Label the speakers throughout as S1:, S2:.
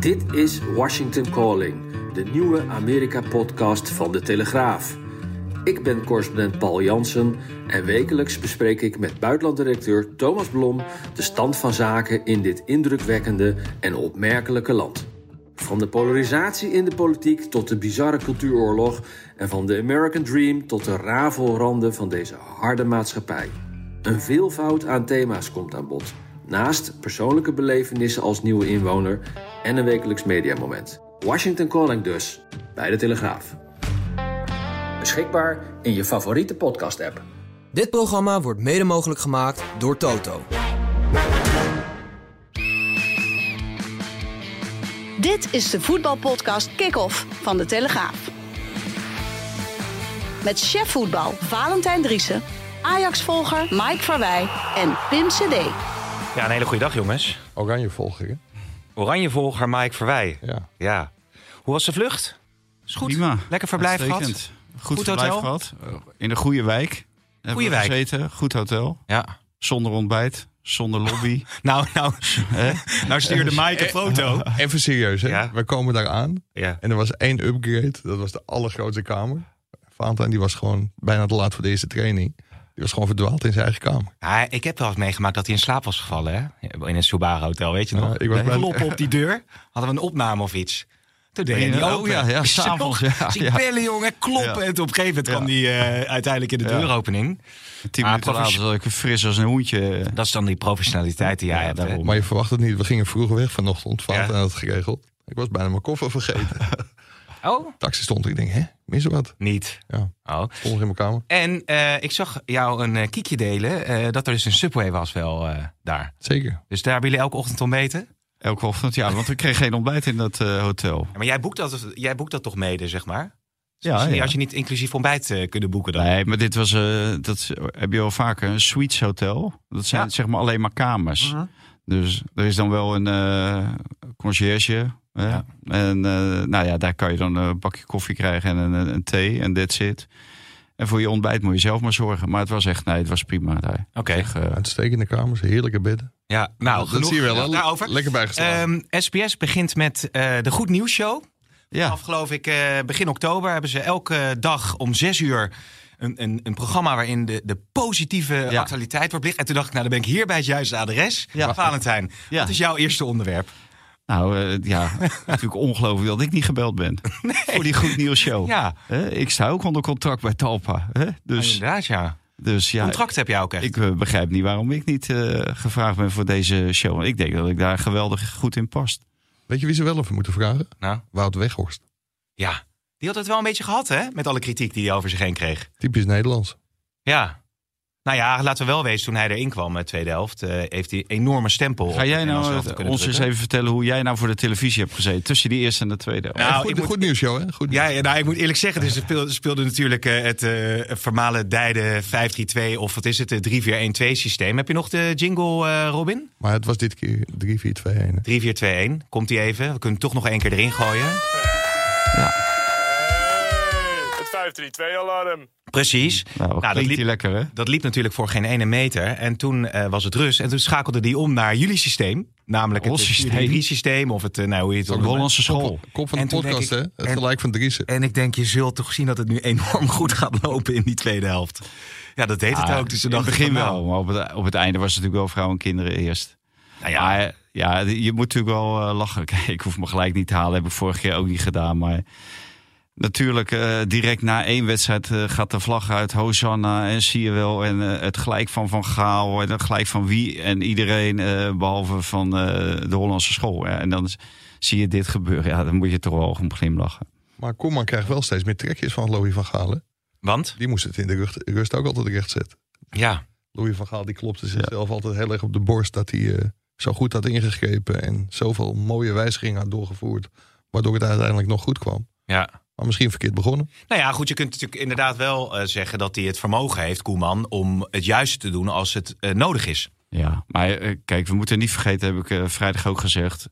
S1: Dit is Washington Calling, de nieuwe Amerika-podcast van de Telegraaf. Ik ben correspondent Paul Jansen en wekelijks bespreek ik met buitenlanddirecteur Thomas Blom de stand van zaken in dit indrukwekkende en opmerkelijke land. Van de polarisatie in de politiek tot de bizarre cultuuroorlog en van de American Dream tot de rafelranden van deze harde maatschappij. Een veelvoud aan thema's komt aan bod, naast persoonlijke belevenissen als nieuwe inwoner en een wekelijks mediamoment. Washington Calling dus, bij de Telegraaf. Beschikbaar in je favoriete podcast-app.
S2: Dit programma wordt mede mogelijk gemaakt door Toto.
S3: Dit is de voetbalpodcast Kick-Off van De Telegraaf. Met chef voetbal Valentijn Driessen, Ajax-volger Mike Verwij en Pim CD.
S4: Ja, een hele goede dag jongens.
S5: Oranje volger, hè?
S4: Oranjevolger Mike Verwij.
S5: Ja.
S4: Ja. Hoe was de vlucht? Is goed.
S6: Prima.
S4: Lekker verblijf
S6: Uitstekend.
S4: gehad.
S6: Goed,
S4: Goed
S6: verblijf
S4: hotel?
S6: gehad. Eh, In de goede wijk. Hebben
S4: Goeie
S6: we
S4: wijk.
S6: gezeten. Goed hotel.
S4: Ja.
S6: Zonder ontbijt. Zonder lobby. Eh,
S4: Nou, nou. nou stuurde Mike een foto.
S5: Even serieus, hè?
S4: Ja.
S5: We komen daar aan
S4: Ja.
S5: en er was één upgrade. Dat was de allergrootste kamer. Valentijn die was gewoon bijna te laat voor de eerste training. Die was gewoon verdwaald in zijn eigen kamer.
S4: Ja, ik heb wel eens meegemaakt dat hij in slaap was gevallen. Hè? In een Subaru hotel, weet je nog?
S5: Ja, ik was
S4: Een
S5: bij-
S4: klop op die deur. Hadden we een opname of iets. Toen deed hij die
S6: Oh,
S4: open.
S6: ja, ja,
S4: Ik zie
S6: s'avonds,
S4: nog-
S6: ja,
S4: zie ik
S6: ja.
S4: bellen, jongen, kloppen.
S6: Ja.
S4: En toen op een gegeven moment kwam die eh, uiteindelijk in de
S6: Ja.
S4: deuropening.
S6: Tien
S4: Ah,
S6: minuten
S4: profes-
S6: later zat ik weer fris als een hoentje. eh,
S4: Dat is dan die professionaliteit die jij hebt. hè?
S5: Maar je verwacht het niet. We gingen vroeg weg vanochtend. Valentijn
S4: Ja.
S5: had het geregeld. Ik was bijna mijn koffer vergeten.
S4: Oh?
S5: Taxi stond er. Ik denk, hè? Mis er wat?
S4: Niet.
S5: Ja.
S4: Oh.
S5: Stond nog in mijn kamer.
S4: En eh, ik zag jou een eh, kiekje delen eh, dat er dus een Subway was wel eh, daar.
S5: Zeker.
S4: Dus daar hebben jullie elke ochtend ontbeten.
S6: Elke ochtend, ja. Want ik kreeg geen ontbijt in dat eh, hotel.
S4: Ja, Maar jij boekt, dat, jij boekt dat toch mede, zeg maar?
S6: Ja,
S4: dus
S6: ja.
S4: Had je niet inclusief ontbijt eh, kunnen boeken dan?
S6: Nee, maar dit was, eh, dat is- heb je wel vaker, een suites hotel. Dat zijn
S4: Ja. Mhm.
S6: zeg maar alleen maar kamers. Dus er is dan wel een eh conciërge. hè?
S4: Ja.
S6: En eh, nou ja, daar kan je dan een bakje koffie krijgen en een, een thee en that's it. En voor je ontbijt moet je zelf maar zorgen. Maar het was echt, nee, het was prima daar.
S4: Oké.
S6: Echt, eh,
S5: Uitstekende kamers. Heerlijke bedden.
S4: Ja, nou,
S5: dat
S4: genoeg
S5: zie je wel. hè?
S4: daarover.
S5: Lekker bijgeslagen.
S4: Ehm, SBS begint met eh, de Goed Nieuws Show.
S6: ja,
S4: Af, geloof ik, eh, begin oktober hebben ze elke dag om zes uur een, een, een programma waarin de, de positieve
S6: Ja.
S4: actualiteit wordt belicht. En toen dacht ik, nou, dan ben ik hier bij het juiste adres.
S6: Ja.
S4: Valentijn,
S6: Ja.
S4: wat is jouw eerste onderwerp?
S6: nou eh, ja, natuurlijk ongelooflijk dat ik niet gebeld ben. Voor die Goed Nieuws Show.
S4: Ja.
S6: Hè, ik sta ook onder contract bij Talpa. hè?
S4: Dus,
S6: Dus,
S4: inderdaad, ja.
S6: dus ja,
S4: Contract heb jij ook echt.
S6: ik eh, begrijp niet waarom ik niet eh, gevraagd ben voor deze show. Want ik denk dat ik daar geweldig goed in past.
S5: Weet je wie ze wel even moeten vragen?
S4: Nou,
S5: Wout Weghorst.
S4: ja. Die had het wel een beetje gehad, hè? Met alle kritiek die hij over zich heen kreeg.
S5: Typisch Nederlands.
S4: Ja. Nou ja, laten we wel wezen, toen hij erin kwam, de tweede helft, eh, heeft hij een enorme stempel. op
S6: Ga
S4: het
S6: jij
S4: Nederlands
S6: nou
S4: elftal
S6: eh,
S4: kunnen
S6: ons eens
S4: drukken.
S6: even vertellen hoe jij nou voor de televisie hebt gezeten? Tussen die eerste en de tweede.
S4: Nou,
S5: goed,
S4: ik moet-
S5: goed nieuws, joh. Hè? Goed
S4: Ja, ja, nou, ik moet eerlijk zeggen, dus er speelde, speelde natuurlijk eh, het eh formale Dijden 5-3-2 of wat is het, eh, het 3-4-1-2 systeem. Heb je nog de jingle, eh, Robin?
S5: Maar het was dit keer 3-4-2-1.
S4: 3-4-2-1, komt die even. We kunnen hem toch nog één keer erin gooien.
S7: Het 532-alarm.
S4: Precies.
S6: Nou,
S4: dat
S6: klinkt
S4: liep-
S6: die lekker, hè?
S4: Dat liep natuurlijk voor geen ene meter. En toen eh, was het rust. En toen schakelde die om naar jullie systeem. Namelijk het
S6: Ons systeem.
S4: 3-3-systeem of het, eh, nou, hoe je het ook
S6: De
S4: noemt.
S6: Hollandse school.
S5: Kop, kop van de
S4: Oh. En toen denk
S5: podcast,
S4: ik-
S5: hè? Het
S4: en-
S5: gelijk van Driessen.
S4: En ik denk, je zult toch zien dat het nu enorm goed gaat lopen in die tweede helft. Ja, dat deed het ook. Dus
S6: Ah, in
S4: dan
S6: het begin wel, maar op het, op het einde was het natuurlijk wel vrouwen en kinderen eerst.
S4: Nou ja,
S6: Ja, ja je moet natuurlijk wel eh, lachen. Kijk, ik hoef me gelijk niet te halen, heb ik vorig jaar ook niet gedaan. Maar natuurlijk, eh, direct na één wedstrijd eh, gaat de vlag uit. Hosanna en zie je wel. En eh, het gelijk van Van Gaal en het gelijk van wie en iedereen, eh, behalve van eh, de Hollandse school. Ja, en dan is- zie je dit gebeuren. Ja, dan moet je toch wel om glimlachen.
S5: Maar Koeman krijgt wel steeds meer trekjes van Louis van Gaal. hè?
S4: want?
S5: Die moest het in de rust, rust ook altijd recht zetten.
S4: Ja.
S5: Louis van Gaal die klopte zichzelf altijd heel erg op de borst dat hij eh, zo goed had ingegrepen en zoveel mooie wijzigingen had doorgevoerd, waardoor het uiteindelijk nog goed kwam.
S4: Ja.
S5: Maar misschien verkeerd begonnen.
S4: Nou ja, goed, je kunt natuurlijk inderdaad wel eh, zeggen dat hij het vermogen heeft, Koeman, om het juiste te doen als het eh, nodig is.
S6: Ja, maar eh, kijk, we moeten niet vergeten, heb ik eh, vrijdag ook gezegd.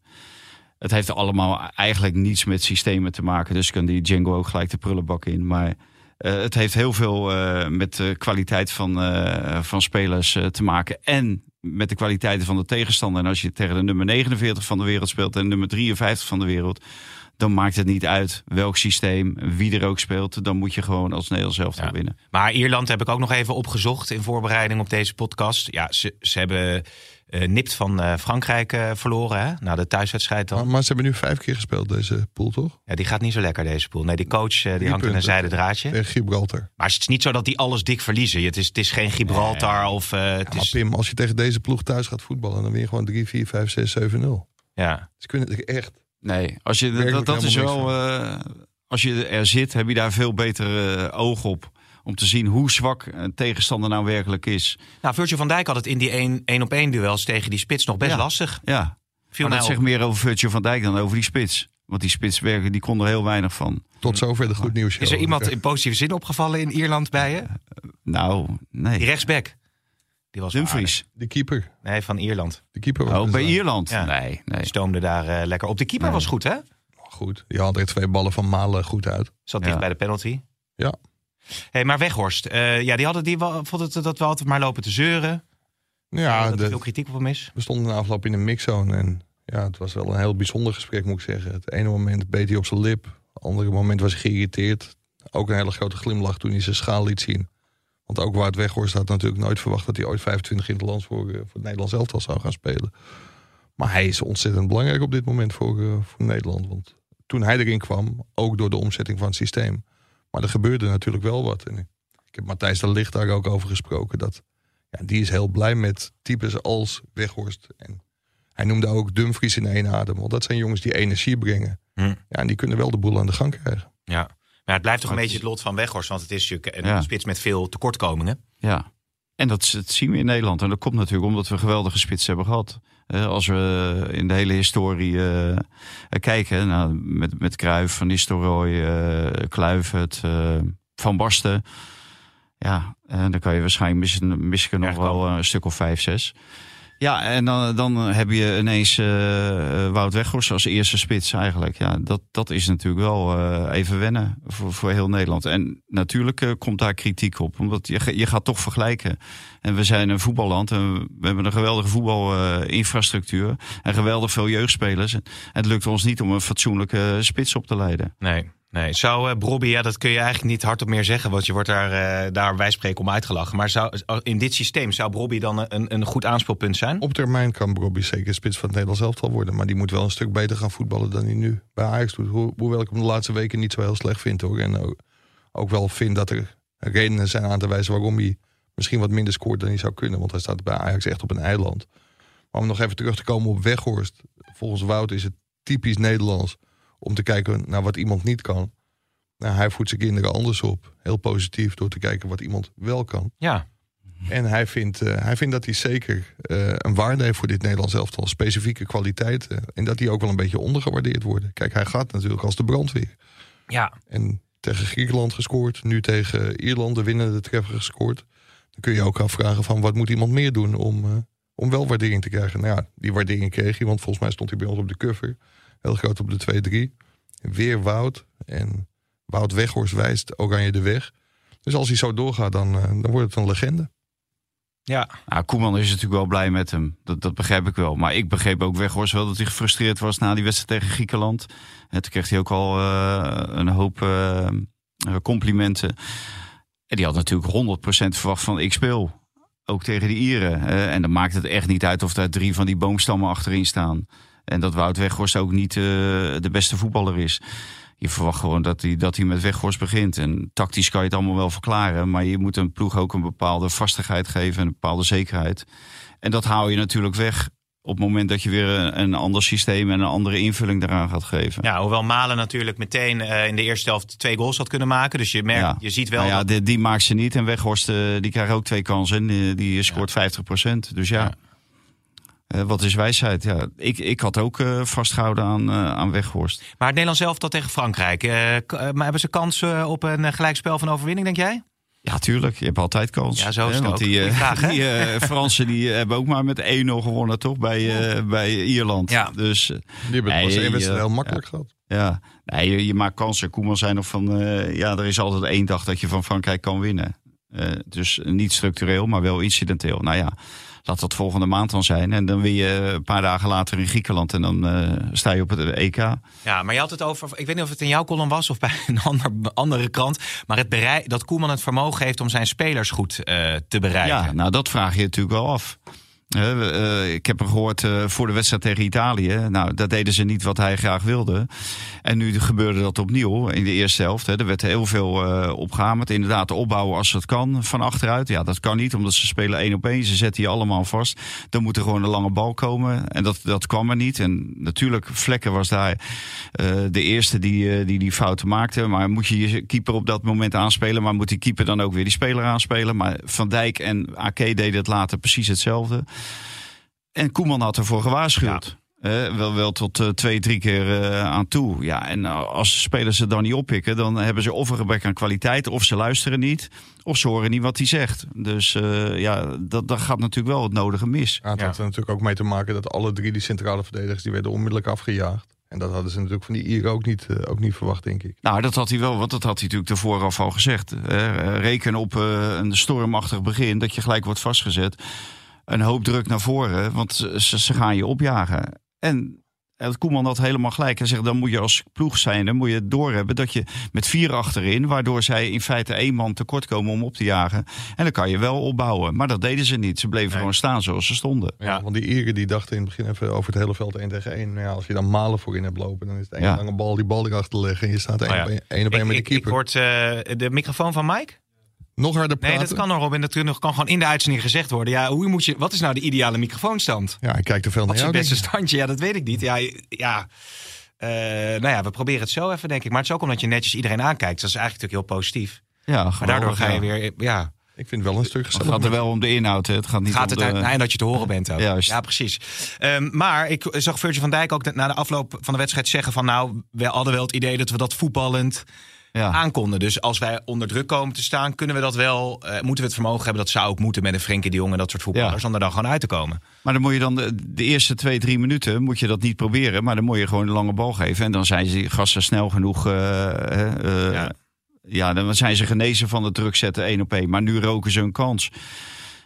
S6: Het heeft allemaal eigenlijk niets met systemen te maken. Dus kan die Django ook gelijk de prullenbak in. Maar eh, het heeft heel veel eh, met de kwaliteit van, eh, van spelers eh, te maken. En met de kwaliteiten van de tegenstander. En als je tegen de nummer 49 van de wereld speelt en nummer 53 van de wereld. Dan maakt het niet uit welk systeem, wie er ook speelt. Dan moet je gewoon als Nederlands zelf
S4: Ja.
S6: winnen.
S4: Maar Ierland heb ik ook nog even opgezocht in voorbereiding op deze podcast. Ja, ze, ze hebben eh, nipt van eh, Frankrijk eh, verloren, hè? Na de thuiswedstrijd dan.
S5: Maar, maar ze hebben nu vijf keer gespeeld, deze pool, toch?
S4: Ja, die gaat niet zo lekker, deze pool. Nee, die coach eh, die hangt in een
S5: punten.
S4: zijde draadje.
S5: Tegen Gibraltar.
S4: Maar het is niet zo dat die alles dik verliezen. Het is, het is geen Gibraltar of... eh, het
S5: Maar
S4: is,
S5: Pim, als je tegen deze ploeg thuis gaat voetballen, dan win je gewoon 3, 4, 5, 6, 7, 0.
S4: ja.
S5: Ze kunnen het echt.
S6: Nee, als je, dat,
S5: Werkelijk
S6: dat is
S5: helemaal
S6: wel. eh, als je er zit, heb je daar veel beter eh, oog op. Om te zien hoe zwak een tegenstander nou werkelijk is.
S4: Nou, Virgil van Dijk had het in die 1-op-1 duels tegen die spits nog best
S6: Ja.
S4: lastig. Viel
S6: Ja, maar
S4: mij
S6: dat
S4: op.
S6: zegt meer over Virgil van Dijk dan over die spits. Want die spitswerken die kon er heel weinig van.
S5: Tot zover de goed nieuws.
S4: Hmm.
S5: Eh,
S4: Is er
S5: show.
S4: iemand in positieve zin opgevallen in Ierland bij je?
S6: Nou,
S4: Die
S6: nee.
S4: rechtsback. Die was wel
S6: Dumfries.
S5: De keeper.
S4: aardig. Nee, van Ierland.
S5: De keeper was dus, eh,
S6: Oh,
S5: best
S6: bij
S5: aardig.
S6: Ierland?
S4: Ja.
S6: Nee, nee.
S4: Stoomde daar eh, lekker op. De keeper was goed, hè?
S5: Goed. Die had er twee ballen van Malen goed uit.
S4: Zat
S6: Ja.
S4: dicht bij de penalty.
S5: Ja.
S4: Hey, maar Weghorst, eh, ja, die hadden die wel- vond het dat we altijd maar lopen te zeuren. Eh,
S5: Ja,
S4: dat er
S5: de-
S4: veel kritiek op hem is.
S5: we stonden na afloop in de mixzone. En ja, het was wel een heel bijzonder gesprek, moet ik zeggen. Het ene moment beet hij op zijn lip. Het andere moment was hij geïrriteerd. Ook een hele grote glimlach toen hij zijn schaal liet zien. Want ook Wout Weghorst had natuurlijk nooit verwacht... dat hij ooit 25 in het land voor, eh, voor het Nederlands elftal zou gaan spelen. Maar hij is ontzettend belangrijk op dit moment voor, eh, voor Nederland. Want toen hij erin kwam, ook door de omzetting van het systeem. Maar er gebeurde natuurlijk wel wat. En ik heb Matthijs de Ligt daar ook over gesproken... dat ja, die is heel blij met types als Weghorst. En hij noemde ook Dumfries in één adem. Want dat zijn jongens die energie brengen.
S4: Hm.
S5: Ja, en die kunnen wel de boel aan de gang krijgen.
S4: Ja. Maar het blijft toch een
S6: Maar
S4: beetje
S6: het
S4: het lot van Weghorst. Want het is natuurlijk een
S6: Ja.
S4: spits met veel tekortkomingen.
S6: Ja. En dat, is- dat zien we in Nederland. En dat komt natuurlijk omdat we geweldige spits hebben gehad. Eh, als we in de hele historie eh, eh, kijken, nou, met, met Cruijff, Van Nistelrooy, eh Kluivert, eh, Van Barsten. Ja, en dan kan je waarschijnlijk missen, missen nog
S4: Bergkamp.
S6: wel een stuk of vijf, zes. Ja, en dan, dan heb je ineens eh, eh, Wout Weghorst als eerste spits eigenlijk. Ja, dat, dat is natuurlijk wel eh, even wennen voor, voor heel Nederland. En natuurlijk eh, komt daar kritiek op, omdat je, ga- je gaat toch vergelijken. En we zijn een voetballand en we hebben een geweldige voetbalinfrastructuur. En geweldig veel jeugdspelers. En het lukt ons niet om een fatsoenlijke spits op te leiden.
S4: Nee. Nee, zou eh Brobby, ja, dat kun je eigenlijk niet hardop meer zeggen, want je wordt daar, eh daar wij spreken om uitgelachen. Maar zou, in dit systeem zou Brobby dan een, een goed aanspeelpunt zijn?
S5: Op termijn kan Robbie zeker spits van het Nederlands elftal worden. Maar die moet wel een stuk beter gaan voetballen dan hij nu bij Ajax doet. Ho- hoewel ik hem de laatste weken niet zo heel slecht vind hoor. En ook, ook wel vind dat er redenen zijn aan te wijzen waarom hij misschien wat minder scoort dan hij zou kunnen. Want hij staat bij Ajax echt op een eiland. Maar om nog even terug te komen op Weghorst. Volgens Wout is het typisch Nederlands om te kijken naar wat iemand niet kan. Nou, hij voedt zijn kinderen anders op. Heel positief door te kijken wat iemand wel kan.
S4: Ja,
S5: En hij vindt, eh, hij vindt dat hij zeker eh, een waarde heeft voor dit Nederlands elftal. Specifieke kwaliteiten. En dat die ook wel een beetje ondergewaardeerd worden. Kijk, hij gaat natuurlijk als de brandweer.
S4: ja.
S5: En tegen Griekenland gescoord. Nu tegen Ierland de winnende treffer gescoord. Dan kun je ook afvragen van wat moet iemand meer doen om, eh, om wel waardering te krijgen. Nou ja, die waardering kreeg hij. Want volgens mij stond hij bij ons op de cover. Heel groot op de 2-3. Weer Wout. En Wout Weghorst wijst Oranje de weg. Dus als hij zo doorgaat, dan, eh, dan wordt het een legende.
S4: ja.
S6: Nou, Koeman is natuurlijk wel blij met hem. Dat, dat begrijp ik wel. Maar ik begreep ook Weghorst wel dat hij gefrustreerd was na die wedstrijd tegen Griekenland. En toen kreeg hij ook al eh, een hoop eh, complimenten. En die had natuurlijk 100% verwacht van ik speel. Ook tegen de Ieren. Eh, en dan maakt het echt niet uit of daar drie van die boomstammen achterin staan. En dat Wout Weghorst ook niet eh, de beste voetballer is. Je verwacht gewoon dat hij, dat hij met Weghorst begint. En tactisch kan je het allemaal wel verklaren. Maar je moet een ploeg ook een bepaalde vastigheid geven. En een bepaalde zekerheid. En dat haal je natuurlijk weg op het moment dat je weer een, een ander systeem en een andere invulling daaraan gaat geven.
S4: Ja, hoewel Malen natuurlijk meteen eh, in de eerste helft twee goals had kunnen maken. Dus je, merkt,
S6: Ja.
S4: je ziet wel
S6: Nou ja,
S4: dat-
S6: die, die maakt ze niet. En Weghorst, eh, die krijgt ook twee kansen. En eh, die scoort 50%. Dus ja. ja. Eh, wat is wijsheid? Ja, ik, ik had ook eh, vastgehouden aan, eh, aan Weghorst.
S4: Maar het Nederlands zelf dat tegen Frankrijk. eh, k- eh, maar hebben ze kans eh, op een eh, gelijkspel van overwinning, denk jij?
S6: Ja, tuurlijk. Je hebt altijd kans.
S4: Ja, zo is
S6: Hè,
S4: het
S6: Want
S4: ook.
S6: die, eh,
S4: Goeie vraag, hè?
S6: die eh, Fransen die hebben ook maar met 1-0 gewonnen, toch? Bij, eh, bij Ierland.
S4: Ja.
S6: Dus eh,
S5: Die hebben het
S6: Nee,
S5: pas één
S6: eh,
S5: wedstrijd heel
S6: ja.
S5: makkelijk gehad.
S6: ja, nee, je, je maakt kansen. Koeman zei nog van, eh, ja, er is altijd één dag dat je van Frankrijk kan winnen. Eh, dus niet structureel, maar wel incidenteel. Nou ja, laat dat volgende maand dan zijn. En dan win je een paar dagen later in Griekenland en dan eh, sta je op het EK.
S4: Ja, maar je had het over. Ik weet niet of het in jouw column was of bij een ander, andere krant. Maar het berei- dat Koeman het vermogen heeft om zijn spelers goed eh, te bereiken.
S6: Ja, nou dat vraag je natuurlijk wel af. Hè, we, eh, ik heb hem gehoord eh, voor de wedstrijd tegen Italië. Nou, daar deden ze niet wat hij graag wilde. En nu gebeurde dat opnieuw in de eerste helft. Hè. Er werd heel veel eh opgehamerd. Inderdaad, opbouwen als dat kan van achteruit. Ja, dat kan niet, omdat ze spelen één op één. Ze zetten je allemaal vast. Dan moet er gewoon een lange bal komen. En dat, dat kwam er niet. En natuurlijk, Vlekken was daar eh, de eerste die, eh, die die fouten maakte. Maar moet je je keeper op dat moment aanspelen? Maar moet die keeper dan ook weer die speler aanspelen? Maar Van Dijk en AK deden het later precies hetzelfde. En Koeman had ervoor gewaarschuwd. Eh, wel, wel tot eh, twee, drie keer eh, aan toe. Ja, en nou, als spelers ze dan niet oppikken, dan hebben ze of een gebrek aan kwaliteit, of ze luisteren niet, of ze horen niet wat hij zegt. Dus eh, ja, dat, dat gaat natuurlijk wel het nodige mis.
S5: Ja, het had er natuurlijk ook mee te maken dat alle drie die centrale verdedigers... die werden onmiddellijk afgejaagd. En dat hadden ze natuurlijk van die Ieren ook niet, eh, ook niet verwacht, denk ik.
S6: Nou, dat had hij wel, want dat had hij natuurlijk ervoor af al gezegd. Eh, eh, reken op eh, een stormachtig begin, dat je gelijk wordt vastgezet. Een hoop druk naar voren, want ze, ze- ze gaan je opjagen. En eh, Koeman had helemaal gelijk. Hij zegt, dan moet je als ploeg zijn, dan moet je het doorhebben... dat je met vier achterin, waardoor zij in feite één man tekort komen om op te jagen. En dan kan je wel opbouwen. Maar dat deden ze niet. Ze bleven gewoon staan zoals ze stonden.
S5: Ja, Want die Ieren die dachten in het begin even over het hele veld 1 tegen 1. Nou ja, als je dan malen voorin hebt lopen, dan is het één
S6: Ja.
S5: lange bal die bal erachter leggen. En je staat één
S4: Oh ja.
S5: op één- één op
S4: Ik-
S5: één met de
S4: ik, ik
S5: keeper.
S4: hoort eh, de microfoon van Mike?
S5: Nog harder
S4: Nee,
S5: praten.
S4: dat kan nog, Robin. Dat kan gewoon in de uitzending gezegd worden. Ja, hoe moet je, wat is nou de ideale microfoonstand?
S5: Ja, ik kijk er veel
S4: Wat
S5: naar
S4: is het
S5: jou.
S4: beste
S5: denk ik.
S4: standje? Ja, dat weet ik niet. Ja, ja. Eh, nou ja, we proberen het zo even, denk ik. Maar het is ook omdat je netjes iedereen aankijkt. Dat is eigenlijk natuurlijk heel positief.
S6: Ja,
S4: Maar daardoor
S6: geweldig,
S4: ga je
S6: ja.
S4: weer... Ja,
S5: Ik vind het wel een stuk
S6: Het
S5: gezellig.
S6: gaat er wel om de inhoud, hè. het gaat niet
S4: gaat
S6: om
S4: het
S6: de...
S4: uit... nou, en dat je te horen bent ook.
S6: Juist.
S4: Ja, precies. Ehm, maar ik zag Virgil van Dijk ook na de afloop van de wedstrijd zeggen van... nou, we hadden wel het idee dat we dat voetballend
S6: ja.
S4: aankonden. Dus als wij onder druk komen te staan, kunnen we dat wel... eh, moeten we het vermogen hebben, dat zou ook moeten met een Frenkie de Jong... en dat soort voetballers,
S6: Ja.
S4: om er dan gewoon uit te komen.
S6: Maar dan moet je dan de, de eerste twee, drie minuten moet je dat niet proberen. Maar dan moet je gewoon een lange bal geven. En dan zijn ze die gasten snel genoeg. eh, hè, eh,
S4: Ja.
S6: ja. dan zijn ze genezen van het druk zetten één op één. Maar nu roken ze hun kans.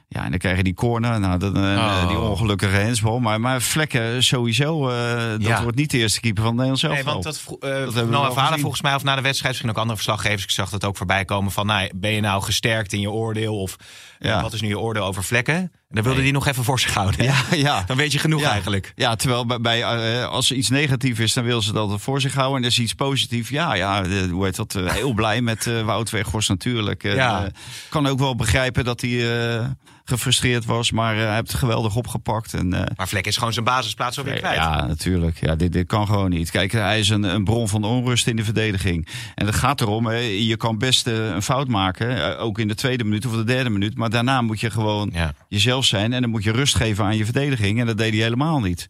S6: Ja, en dan krijgen die corner. Nou, dan, eh,
S4: Oh.
S6: die ongelukkige hensbal. Maar, maar vlekken sowieso. eh, dat
S4: Ja.
S6: wordt niet de eerste keeper van Nederland zelf.
S4: Nee, want dat, vro- eh
S6: we
S4: Noah
S6: wel
S4: Verhalen
S6: gezien.
S4: volgens mij, of na de wedstrijd, misschien ook andere verslaggevers, ik zag dat ook voorbij komen van, nou, ben je nou gesterkt in je oordeel of eh,
S6: Ja.
S4: wat is nu je oordeel over vlekken? En dan wilde die nog even voor zich houden.
S6: ja, ja.
S4: Dan weet je genoeg
S6: Ja.
S4: eigenlijk.
S6: Ja, terwijl bij, bij, eh, als er iets negatief is, dan wil ze dat voor zich houden. En is iets positief. Ja, ja eh, hoe heet dat? eh, heel blij met eh Wout Weghorst natuurlijk. En,
S4: Ja.
S6: eh, kan ook wel begrijpen dat hij eh, gefrustreerd was. Maar eh, hij heeft het geweldig opgepakt. En, eh,
S4: Maar Vlek is gewoon zijn basisplaats alweer kwijt.
S6: ja, natuurlijk. Ja, dit, dit kan gewoon niet. Kijk, hij is een, een bron van onrust in de verdediging. En het gaat erom, hè, je kan best eh, een fout maken. eh, Ook in de tweede minuut of de derde minuut. Maar daarna moet je gewoon
S4: Ja.
S6: jezelf zijn. En dan moet je rust geven aan je verdediging. En dat deed hij helemaal niet.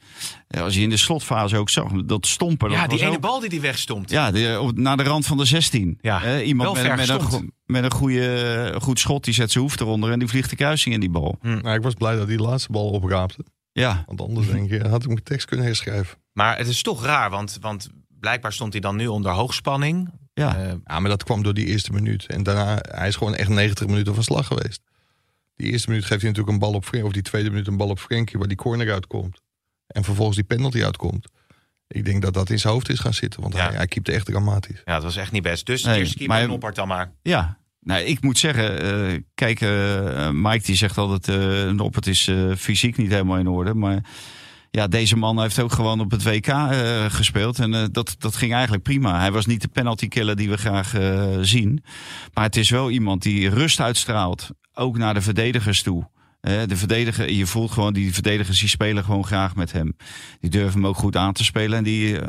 S6: Eh, Als je in de slotfase ook zag, dat stompen.
S4: Ja,
S6: dat
S4: die
S6: was
S4: ene
S6: ook-
S4: bal die die wegstomt.
S6: Ja, de- op- naar de rand van de 16.
S4: Ja,
S6: Eh,
S4: wel
S6: iemand met,
S4: ver
S6: met, een,
S4: gestond.
S6: go- met een goede, eh, goed schot, die zet zijn hoef eronder. En die vliegt de kruising in die bal.
S5: Nou, ik was blij dat die laatste bal opraapte.
S6: Ja,
S5: Want anders denk je, had ik mijn tekst kunnen herschrijven.
S4: Maar het is toch raar, want, want blijkbaar stond hij dan nu onder hoogspanning.
S6: ja.
S4: Eh,
S5: Ja, maar dat kwam door die eerste minuut. En daarna, hij is gewoon echt 90 minuten van slag geweest. Die eerste minuut geeft hij natuurlijk een bal op Frenkie. Of die tweede minuut een bal op Frenkie, waar die corner uitkomt. En vervolgens die penalty uitkomt. Ik denk dat dat in zijn hoofd is gaan zitten. Want
S4: Ja.
S5: hij, hij keepte echt dramatisch.
S4: ja, dat was echt niet best. Dus
S6: Nee,
S4: de eerste keeper
S6: maar-
S4: Noppert dan maar.
S6: Ja, nou, ik moet zeggen, eh, kijk, eh, Mike die zegt altijd, eh Noppert is eh, fysiek niet helemaal in orde, maar ja, deze man heeft ook gewoon op het WK eh, gespeeld en eh, dat, dat ging eigenlijk prima. Hij was niet de penalty killer die we graag eh, zien, maar het is wel iemand die rust uitstraalt, ook naar de verdedigers toe. Eh, De verdediger, je voelt gewoon, die verdedigers die spelen gewoon graag met hem. Die durven hem ook goed aan te spelen. En die eh,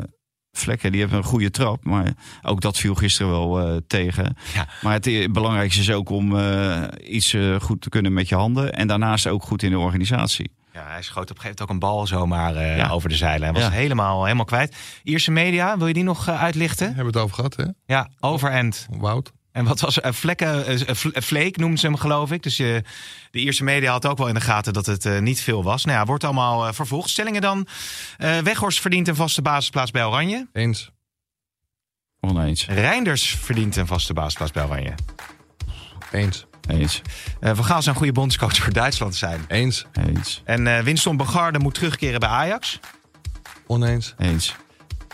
S6: vlekken, die hebben een goede trap. Maar ook dat viel gisteren wel eh, tegen.
S4: Ja.
S6: Maar het eh, belangrijkste is ook om eh, iets eh, goed te kunnen met je handen. En daarnaast ook goed in de organisatie.
S4: Ja, hij schoot op een gegeven moment ook een bal zomaar eh,
S6: Ja.
S4: over de zijlijn. Was
S6: Ja.
S4: helemaal, helemaal kwijt. Ierse media, wil je die nog eh, uitlichten?
S5: Hebben we het over gehad, hè?
S4: Ja, overend.
S5: Wout.
S4: En wat was eh, vlekken, eh, vle- eh, Fleek noemden ze hem geloof ik. Dus eh, de Ierse media had ook wel in de gaten dat het eh, niet veel was. Nou ja, wordt allemaal eh, vervolgd. Stellingen dan. eh Weghorst verdient een vaste basisplaats bij Oranje.
S5: Eens.
S6: Oneens.
S4: Reinders verdient een vaste basisplaats bij Oranje.
S5: Eens.
S6: Eens.
S4: Eh Van Gaal zou een goede bondscoach voor Duitsland zijn.
S5: Eens.
S6: Eens.
S4: En eh Winston Bogarde moet terugkeren bij Ajax.
S5: Oneens.
S6: Eens.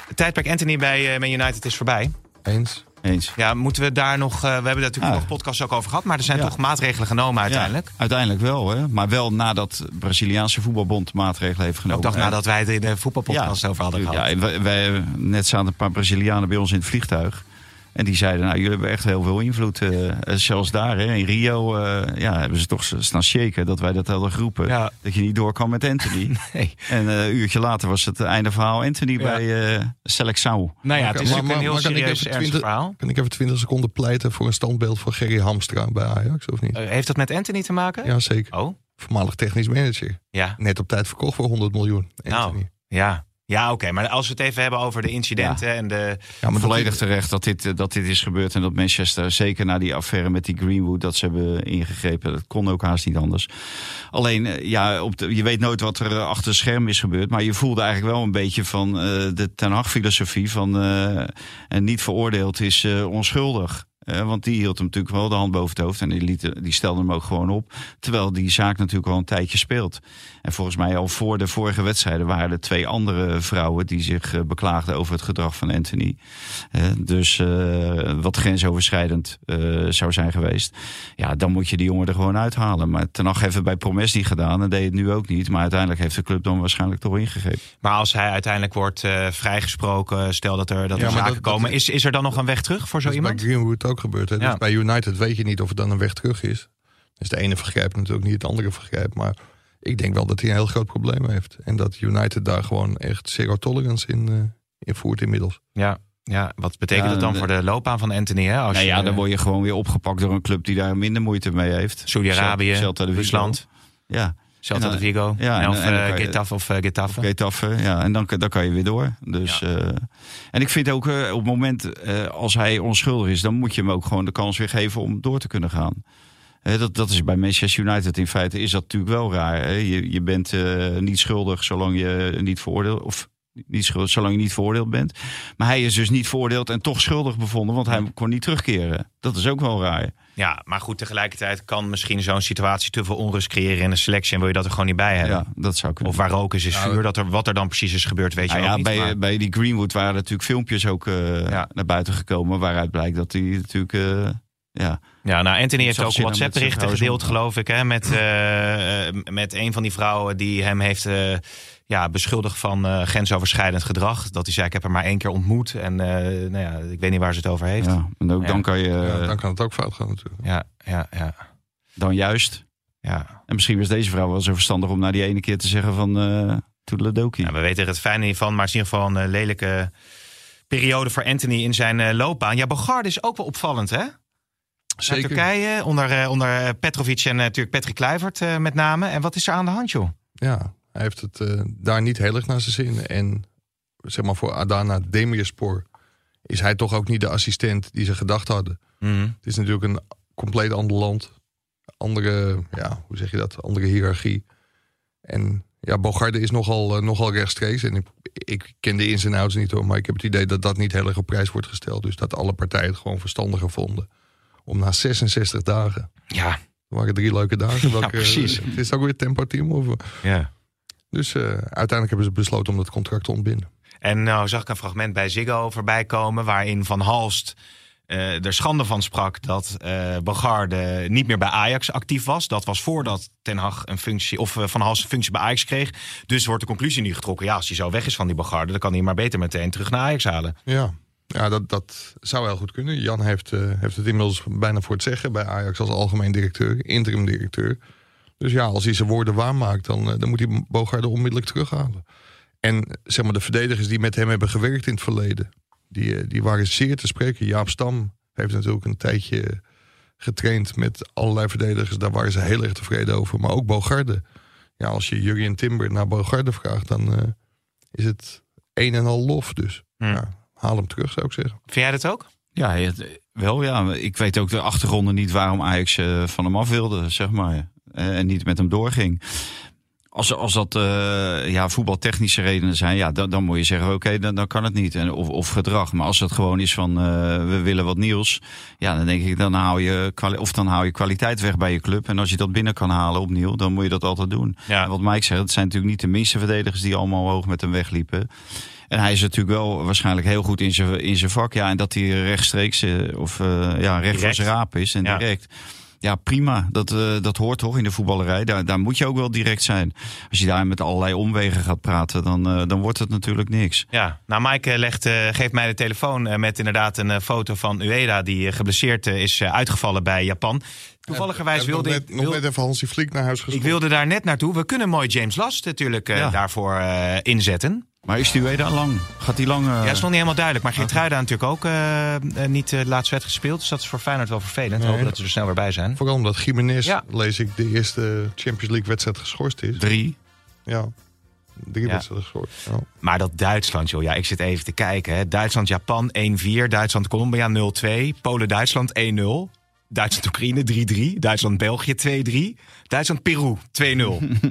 S4: Het tijdperk Anthony bij eh, Man United is voorbij.
S5: Eens.
S6: Eens.
S4: Ja, moeten we daar nog... eh, we hebben daar natuurlijk
S6: Ah.
S4: nog podcasts ook over gehad. Maar er zijn
S6: Ja.
S4: toch maatregelen genomen uiteindelijk.
S6: Ja, uiteindelijk wel, hè. Maar wel nadat de Braziliaanse voetbalbond maatregelen heeft
S4: Ook
S5: Nou,
S6: genomen.
S4: dag
S6: En-
S4: nadat wij het in de voetbalpodcast over hadden gehad.
S6: ja, wij, wij- net zaten een paar Brazilianen bij ons in het vliegtuig. En die zeiden, nou, jullie hebben echt heel veel invloed. eh, eh, zelfs daar, hè, in Rio, eh, ja, hebben ze toch staan shaken dat wij dat hadden geroepen.
S4: Ja.
S6: Dat je niet door kan met Anthony.
S4: Nee.
S6: En eh, een uurtje later was het einde verhaal Anthony bij eh Selecção.
S4: Nou ja, het is
S5: Maar-
S4: natuurlijk een
S5: maar-
S4: heel
S5: maar kan
S4: serieus
S5: ik even
S4: ernstig
S5: 20
S4: verhaal.
S5: Kan ik even 20 seconden pleiten voor een standbeeld voor Gerry Hamstra bij Ajax, of niet?
S4: Eh, heeft dat met Anthony te maken?
S5: Ja, zeker.
S4: Oh,
S5: Voormalig technisch manager.
S4: ja.
S5: Net op tijd verkocht voor 100 miljoen.
S4: Nou,
S5: Anthony.
S4: Ja, ja oké. Maar als we het even hebben over de incidenten en de...
S5: ja, maar
S6: Volledig
S5: dat-
S6: terecht dat dit, eh, dat dit is gebeurd. En dat Manchester, zeker na die affaire met die Greenwood, dat ze hebben ingegrepen. Dat kon ook haast niet anders. Alleen, eh, ja, op de, je weet nooit wat er eh, achter het scherm is gebeurd. Maar je voelde eigenlijk wel een beetje van eh, de Ten Hag-filosofie van... eh, en niet veroordeeld is eh, onschuldig. Eh, want die hield hem natuurlijk wel de hand boven het hoofd. En die, liet, die stelde hem ook gewoon op. Terwijl die zaak natuurlijk al een tijdje speelt. En volgens mij al voor de vorige wedstrijden waren er twee andere vrouwen... die zich eh, beklaagden over het gedrag van Anthony. Eh, dus eh, wat grensoverschrijdend eh, zou zijn geweest. Ja, dan moet je die jongen er gewoon uithalen. Maar Ten Hag heeft het bij Promes niet gedaan en deed het nu ook niet. Maar uiteindelijk heeft de club dan waarschijnlijk toch ingegrepen.
S4: Maar als hij uiteindelijk wordt eh, vrijgesproken, stel dat er, dat
S5: Ja,
S4: er
S5: maar
S4: zaken
S5: dat- dat-
S4: komen. Is, is er dan nog een weg terug voor zo
S5: Dat is bij
S4: iemand?
S5: Greenwood ook gebeurd. Hè?
S4: Ja.
S5: Dus bij United weet je niet of het dan een weg terug is. Dus de ene vergrijpt natuurlijk niet het andere vergrijpt. Maar ik denk wel dat hij een heel groot probleem heeft. En dat United daar gewoon echt zero tolerance in, eh, in voert inmiddels.
S4: Ja. ja, wat betekent
S6: Ja,
S4: dat dan
S6: de-
S4: voor de loopbaan van Anthony? Hè? Als
S6: Nou ja,
S4: je- eh,
S6: dan word je gewoon weer opgepakt door een club die daar minder moeite mee heeft.
S4: Saudi-Arabië,
S6: Celta de Vigo.
S4: Rusland,
S6: Ja,
S4: Celta
S6: En
S4: de
S6: dan-
S4: Vigo.
S6: ja,
S4: en
S6: en-
S4: of
S6: en dan
S4: eh,
S6: kan je-
S4: Getafe of eh, Getafe.
S6: Getafe, ja. En dan, dan kan je weer door. Dus, eh, en ik vind ook eh, op het moment eh, als hij onschuldig is, dan moet je hem ook gewoon de kans weer geven om door te kunnen gaan. Eh, dat, dat is bij Manchester United in feite is dat natuurlijk wel raar. hè. Je, je bent eh, niet schuldig zolang je niet veroordeeld of niet schuldig, zolang je niet veroordeeld bent. Maar hij is dus niet veroordeeld en toch schuldig bevonden, want hij kon niet terugkeren. Dat is ook wel raar.
S4: Ja, maar goed, tegelijkertijd kan misschien zo'n situatie te veel onrust creëren in een selectie en wil je dat er gewoon niet bij hebben.
S6: Ja, dat zou kunnen.
S4: Of waar rook is, is
S5: Ja,
S4: vuur. Dat er, wat er dan precies is gebeurd, weet je
S6: Nou
S4: ook
S6: ja,
S4: niet.
S6: bij,
S4: maar-
S6: bij die Greenwood waren natuurlijk filmpjes ook eh,
S4: Ja.
S6: naar buiten gekomen. Waaruit blijkt dat hij natuurlijk. eh, ja.
S4: ja, nou, Anthony heeft
S6: zag
S4: ook
S6: zin om
S4: WhatsApp berichten
S6: met zijn vrouw
S4: gedeeld,
S6: zo'n-
S4: geloof ik. Hè, met, eh, eh, met een van die vrouwen die hem heeft eh, ja, beschuldigd van eh, grensoverschrijdend gedrag. Dat hij zei, ik heb hem maar één keer ontmoet. En eh, nou ja, ik weet niet waar ze het over heeft. Ja,
S6: ja. En ook
S4: Ja.
S6: dan kan je.
S5: Ja, dan kan het ook fout gaan natuurlijk.
S4: ja, ja. ja,
S6: dan juist. En misschien was deze vrouw wel zo verstandig om na die ene keer te zeggen van. eh Toedeledokie.
S4: Nou, we weten er het fijne niet van, maar het is in ieder geval een eh, lelijke periode voor Anthony in zijn eh, loopbaan. Ja, Bogarde is ook wel opvallend, hè? Naar Turkije, onder, eh, onder eh, Petrovic en eh, natuurlijk Patrick Kluivert eh, met name. En wat is er aan de hand, joh?
S5: Ja, hij heeft het eh, daar niet heel erg naar zijn zin. En zeg maar voor Adana Demirspor is hij toch ook niet de assistent die ze gedacht hadden.
S6: Mhm.
S5: Het is natuurlijk een compleet ander land. Andere, ja, hoe zeg je dat? Andere hiërarchie. En ja, Bogarde is nogal, eh, nogal rechtstreeks. En ik, ik ken de ins en outs niet hoor. Maar ik heb het idee dat dat niet heel erg op prijs wordt gesteld. Dus dat alle partijen het gewoon verstandiger vonden. Om na 66 dagen.
S4: Ja,
S5: Er waren drie leuke dagen. Welke,
S4: precies.
S5: Het is ook weer tempo team. Of,
S4: ja.
S5: dus eh, uiteindelijk hebben ze besloten om dat contract te ontbinden.
S4: En nou zag ik een fragment bij Ziggo voorbij komen... waarin Van Halst eh, er schande van sprak dat eh Bogarde niet meer bij Ajax actief was. Dat was voordat Ten Hag een functie, of eh, Van Halst een functie bij Ajax kreeg. Dus wordt de conclusie nu getrokken... ja, als hij zo weg is van die Bogarde... dan kan hij maar beter meteen terug naar Ajax halen.
S5: Ja, ja dat, dat zou heel goed kunnen. Jan heeft, eh, heeft het inmiddels bijna voor het zeggen bij Ajax als algemeen directeur, interim directeur. Dus ja, als hij zijn woorden waarmaakt, dan, eh, dan moet hij Bogarde onmiddellijk terughalen. En zeg maar, de verdedigers die met hem hebben gewerkt in het verleden, die, eh, die waren zeer te spreken. Jaap Stam heeft natuurlijk een tijdje getraind met allerlei verdedigers. Daar waren ze heel erg tevreden over. Maar ook Bogarde. Ja, als je Jurgen Timber naar Bogarde vraagt, dan eh, is het een en al lof. Dus
S4: Hmm.
S5: ja, haal hem terug, zou ik zeggen.
S4: Vind jij dat ook?
S6: Ja, het- wel ja. Ik weet ook de achtergronden niet waarom Ajax eh, van hem af wilde, zeg maar. Eh, En niet met hem doorging. Als, als dat eh, ja, voetbaltechnische redenen zijn, ja, dan, dan moet je zeggen: oké, dan, dan kan het niet. En, of, of gedrag. Maar als dat gewoon is van eh, we willen wat nieuws, ja, dan denk ik: dan haal, je kwali- of dan haal je kwaliteit weg bij je club. En als je dat binnen kan halen opnieuw, dan moet je dat altijd doen.
S4: Ja.
S6: En Wat Mike zegt, het zijn natuurlijk niet de minste verdedigers die allemaal hoog met hem wegliepen. En hij is natuurlijk wel waarschijnlijk heel goed in zijn, in zijn vak. Ja, en dat hij rechtstreeks eh, of eh, ja, recht
S4: Direct.
S6: van zijn raap is en
S4: Ja.
S6: direct. Ja, prima. Dat, eh, dat hoort toch in de voetballerij. Daar, daar moet je ook wel direct zijn. Als je daar met allerlei omwegen gaat praten, dan, eh, dan wordt het natuurlijk niks.
S4: Ja, nou Mike eh, legt, eh, geeft mij de telefoon eh, met inderdaad een eh, foto van Ueda... die eh, geblesseerd eh, is eh, uitgevallen bij Japan. Toevalligerwijs
S5: Heb Eh, nog
S4: wilde
S5: net,
S4: ik...
S5: nog
S4: wil-
S5: net even Hansi Flick naar huis
S4: Ik
S5: gestuurd.
S4: wilde daar net naartoe. We kunnen mooi James Last natuurlijk eh,
S6: Ja.
S4: daarvoor eh, inzetten.
S6: Maar is die dan lang? Gaat die lang? eh,
S4: Ja, dat is nog niet helemaal duidelijk. Maar Geertruida natuurlijk ook eh, eh, niet de laatste wedstrijd gespeeld. Dus dat is voor Feyenoord wel vervelend. Hopen dat ze er snel weer bij zijn.
S5: Vooral omdat Jiménez,
S4: Ja.
S5: lees ik, de eerste Champions League wedstrijd geschorst is.
S6: Drie.
S5: Ja, drie
S4: Ja.
S5: wedstrijden geschorst. Ja.
S4: Maar dat Duitsland, joh. Ja, ik zit even te kijken. hè. Duitsland-Japan 1-4. Duitsland-Colombia 0-2. Polen-Duitsland 1-0. Duitsland-Oekraïne 3-3. Duitsland-België 2-3. Duitsland-Peru 2-0.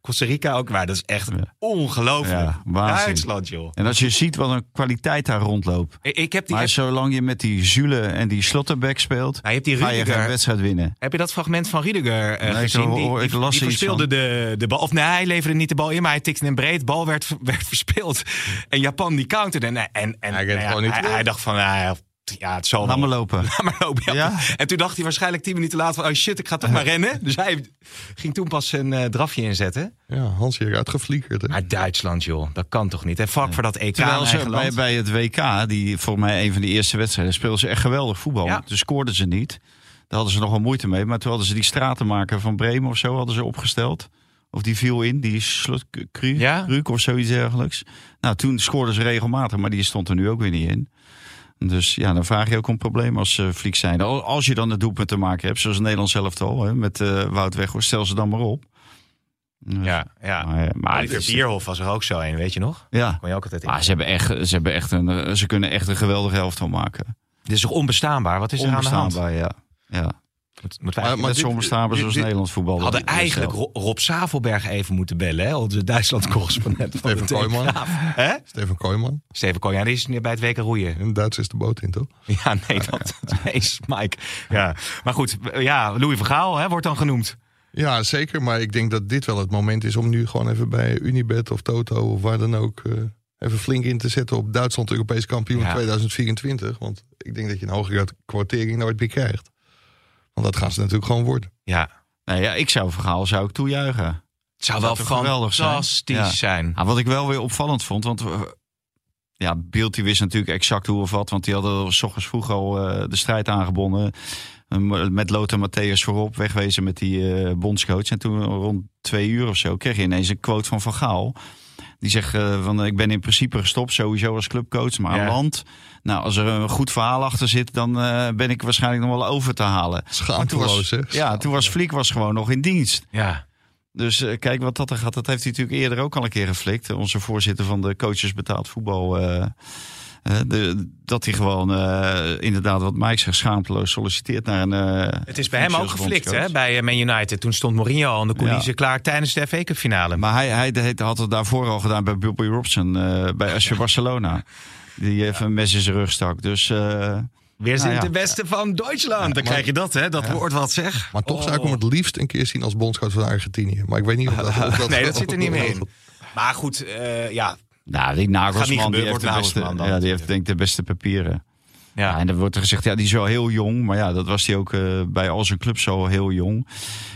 S4: Costa Rica ook. Maar dat is echt ongelooflijk.
S6: Ja, waanzin.
S4: Duitsland, joh.
S6: En als je ziet wat een kwaliteit daar rondloopt.
S4: Ik, ik heb die...
S6: Maar zolang je met die Zule en die Slotterbeck speelt,
S4: Nou, je hebt die
S6: ga je
S4: Rüdiger.
S6: geen wedstrijd winnen.
S4: Heb je dat fragment van Riediger eh
S6: Nee, ik
S4: gezien?
S6: hoor-
S4: Die,
S6: hoor- ik
S4: die-
S6: las
S4: die
S6: er iets
S4: verspeelde
S6: van.
S4: de, de bal. Of nee, hij leverde niet de bal in, maar hij tikte hem breed. Bal werd, werd verspeeld. En Japan die counterde. En, en, en
S5: Hij kent
S4: nou ja,
S5: gewoon niet
S4: hij,
S5: terug.
S4: hij dacht van, nou ja, ja, het zal
S6: Laat
S4: wel.
S6: maar lopen.
S4: Laat maar lopen. ja.
S6: Ja.
S4: En toen dacht hij waarschijnlijk tien minuten later van, oh shit, ik ga toch maar rennen. Dus hij ging toen pas een eh, drafje inzetten.
S5: Ja, Hansi eruit gefliekerd. Hè?
S4: Maar Duitsland, joh, dat kan toch niet. En vak voor dat EK
S6: Terwijl
S4: in
S6: ze
S4: eigen
S6: bij,
S4: land.
S6: bij het WK, die volgens mij een van de eerste wedstrijden, speelden ze echt geweldig voetbal.
S4: Ja.
S6: Toen scoorden ze niet. Daar hadden ze nog wel moeite mee. Maar toen hadden ze die stratenmaker van Bremen of zo hadden ze opgesteld. Of die viel in, die slot Kru,
S4: Ja.
S6: Kruk of zoiets dergelijks. Nou, toen scoorden ze regelmatig, maar die stond er nu ook weer niet in. Dus ja, dan vraag je ook om problemen als ze fliek zijn. Al- Als je dan het doelpunt te maken hebt, zoals Nederland zelf al, hè, met eh, Wout Weghorst, stel ze dan maar op.
S4: Ja, ja.
S6: Maar, eh, maar
S4: Oliver
S6: het is-
S4: Bierhoff was er ook zo een, weet je nog?
S6: ja.
S4: Kon je ook altijd in.
S6: Maar ze, hebben echt, ze, hebben echt een, eh, ze kunnen echt een geweldige helft van maken.
S4: Dit is toch onbestaanbaar? Wat is er aan de hand?
S6: Onbestaanbaar, ja. ja.
S4: Moet- moeten wij-
S5: Maar- maar
S6: Net zo
S5: dit-
S6: onbestaanbaar
S5: dit-
S6: zoals
S5: dit-
S6: Nederlands voetbal.
S4: We hadden eigenlijk Ro- Rob Savelberg even moeten bellen, hè? onze Duitsland-correspondent van de
S5: Steven Kooijman.
S4: Telegraaf. Hè?
S5: Steven Kooijman.
S4: Steven Kooijman, die is nu bij het WK roeien.
S5: In het Duits is de boot in, toch?
S4: Ja, nee, dat dat is Mike. Ja. Maar goed, ja, Louis van Gaal hè, wordt dan genoemd.
S5: Ja, zeker. Maar ik denk dat dit wel het moment is om nu gewoon even bij Unibet of Toto of waar dan ook... eh, even flink in te zetten op Duitsland Europees kampioen
S4: Ja.
S5: 2024. Want ik denk dat je een hogere kwartering nooit meer krijgt. Want dat gaan ze natuurlijk gewoon worden.
S4: Ja,
S6: Nou ja, ik zou verhaal zou ik toejuichen.
S4: het zou
S6: Dat
S4: wel
S6: zou geweldig zijn.
S4: fantastisch
S6: Ja.
S4: zijn.
S6: Ah, wat ik wel weer opvallend vond, want eh, ja, Beeld die wist natuurlijk exact hoe of wat, want die hadden s ochtends vroeg al eh, de strijd aangebonden. Eh, Met Lothar Matthäus voorop, wegwezen met die eh bondscoach. En toen rond twee uur of zo kreeg je ineens een quote van Van Gaal. Die zegt eh, van eh, ik ben in principe gestopt, sowieso als clubcoach, maar aan
S4: Ja.
S6: land. Nou, als er een goed verhaal achter zit, dan eh, ben ik waarschijnlijk nog wel over te halen. Maar toen
S5: Schaamteloos,
S6: was,
S5: hè?
S6: ja, toen was Fliek was gewoon nog in dienst.
S4: Ja,
S6: Dus eh, kijk wat dat er gaat. Dat heeft hij natuurlijk eerder ook al een keer geflikt. Onze voorzitter van de coaches betaald voetbal. eh, eh, de, dat hij gewoon eh, inderdaad, wat Mike zegt, schaamteloos solliciteert naar een. eh,
S4: het is bij hem
S6: functie
S4: ook
S6: als
S4: geflikt hè,
S6: bondscoach.
S4: bij eh, Man United. Toen stond Mourinho al in de coulissen
S6: Ja.
S4: klaar tijdens de FA Cup finale.
S6: Maar hij, hij deed- had het daarvoor al gedaan bij Bobby Robson. eh, bij SC Barcelona. Die even een mes in zijn rug stak. Dus. eh,
S4: Weer zijn
S6: Nou ja.
S4: de beste van Duitsland. Dan krijg je dat, hè? Dat woord wat zeg.
S5: Maar toch zou ik
S4: Oh.
S5: hem het liefst een keer zien als bondscoach van Argentinië. Maar ik weet niet of dat... of
S4: Nee, dat zit er niet meer
S5: meer
S4: in. Maar goed, eh, ja.
S6: nou, die
S4: Gaat niet
S6: Nagelsman die
S4: gebeuren,
S6: heeft, nou
S4: wordt
S6: de beste,
S4: Nagelsman dan
S6: ja, die
S4: natuurlijk.
S6: heeft denk ik de beste papieren. Ja,
S4: ja.
S6: en dan wordt er gezegd, ja, die is wel heel jong. Maar ja, dat was hij ook eh, bij al zijn clubs al heel jong.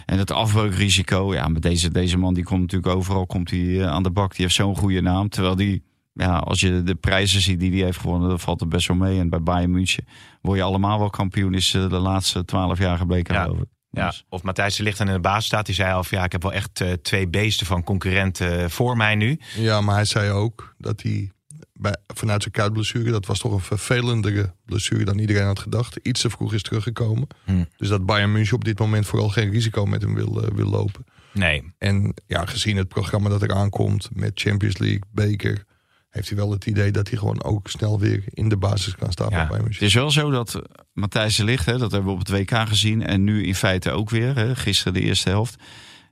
S6: En het afbreukrisico, ja, maar deze, deze man die komt natuurlijk overal komt hij, eh, aan de bak. Die heeft zo'n goede naam. Terwijl die, ja, als je de prijzen ziet die hij heeft gewonnen, dan valt het best wel mee. En bij Bayern München word je allemaal wel kampioen, is eh, de laatste twaalf jaar gebleken,
S4: Ja.
S6: geloof ik.
S4: Ja,
S6: Dus,
S4: of Matthijs de Ligt aan in de baas staat. Die zei al van ja, ik heb wel echt eh, twee beesten van concurrenten eh, voor mij nu.
S5: Ja, maar hij zei ook dat hij bij, vanuit zijn kuitblessure... dat was toch een vervelendere blessure dan iedereen had gedacht... iets te vroeg is teruggekomen.
S4: Hm.
S5: Dus dat Bayern München op dit moment vooral geen risico met hem wil, eh, wil lopen.
S4: Nee.
S5: En ja, gezien het programma dat er aankomt met Champions League, beker, heeft hij wel het idee dat hij gewoon ook snel weer in de basis kan staan
S4: Ja,
S5: bij
S6: Het
S5: Bayern
S6: is wel zo dat eh, Matthijs de Ligt, hè, dat hebben we op het WK gezien. En nu in feite ook weer. Hè, gisteren de eerste helft.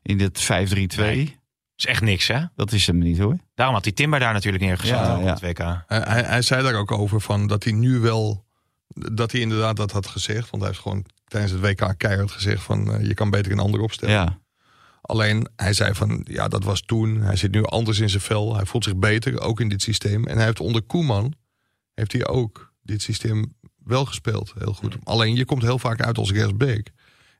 S6: In dit 5-3-2.
S4: Nee. Is echt niks, hè?
S6: Dat is hem niet hoor.
S4: Daarom had die Timber daar natuurlijk neergezet
S6: Ja,
S4: op
S6: ja.
S4: het WK.
S5: Hij, hij, hij zei daar ook over van dat hij nu wel, dat hij inderdaad dat had gezegd. Want hij heeft gewoon tijdens het WK keihard gezegd van eh, je kan beter een ander opstellen.
S6: Ja.
S5: Alleen hij zei van ja, dat was toen. Hij zit nu anders in zijn vel. Hij voelt zich beter, ook in dit systeem. En hij heeft onder Koeman heeft hij ook dit systeem wel gespeeld. Heel goed. Alleen je komt heel vaak uit als rechtsback.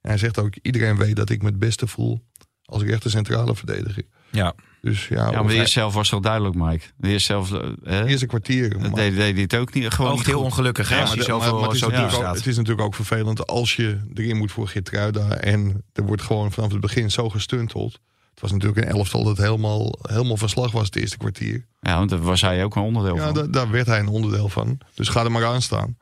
S5: En hij zegt ook, iedereen weet dat ik me het beste voel als rechter centrale verdediger.
S4: Ja.
S5: Dus ja,
S6: ja,
S5: of
S6: maar de
S5: hij-
S6: eerste helft was wel duidelijk, Mike. De eerste helft. eh, Hè,
S5: eerste kwartier.
S6: dat
S5: maar-
S6: deed, deed hij het ook niet. Gewoon
S4: Ook
S6: niet
S4: heel
S6: goed.
S4: ongelukkig, hè?
S5: Ja,
S4: als
S5: maar
S4: je
S5: de- maar- maar
S4: zoveel
S5: het is
S4: zo diep
S5: natuurlijk ook-
S4: staat.
S5: Het is natuurlijk ook vervelend als je erin moet voor Gitruida. En er wordt gewoon vanaf het begin zo gestunteld. Het was natuurlijk een elftal dat helemaal, helemaal van slag was het eerste kwartier.
S6: Ja, want daar was hij ook een onderdeel
S5: Ja,
S6: van.
S5: da- daar werd hij een onderdeel van. Dus ga er maar aan staan.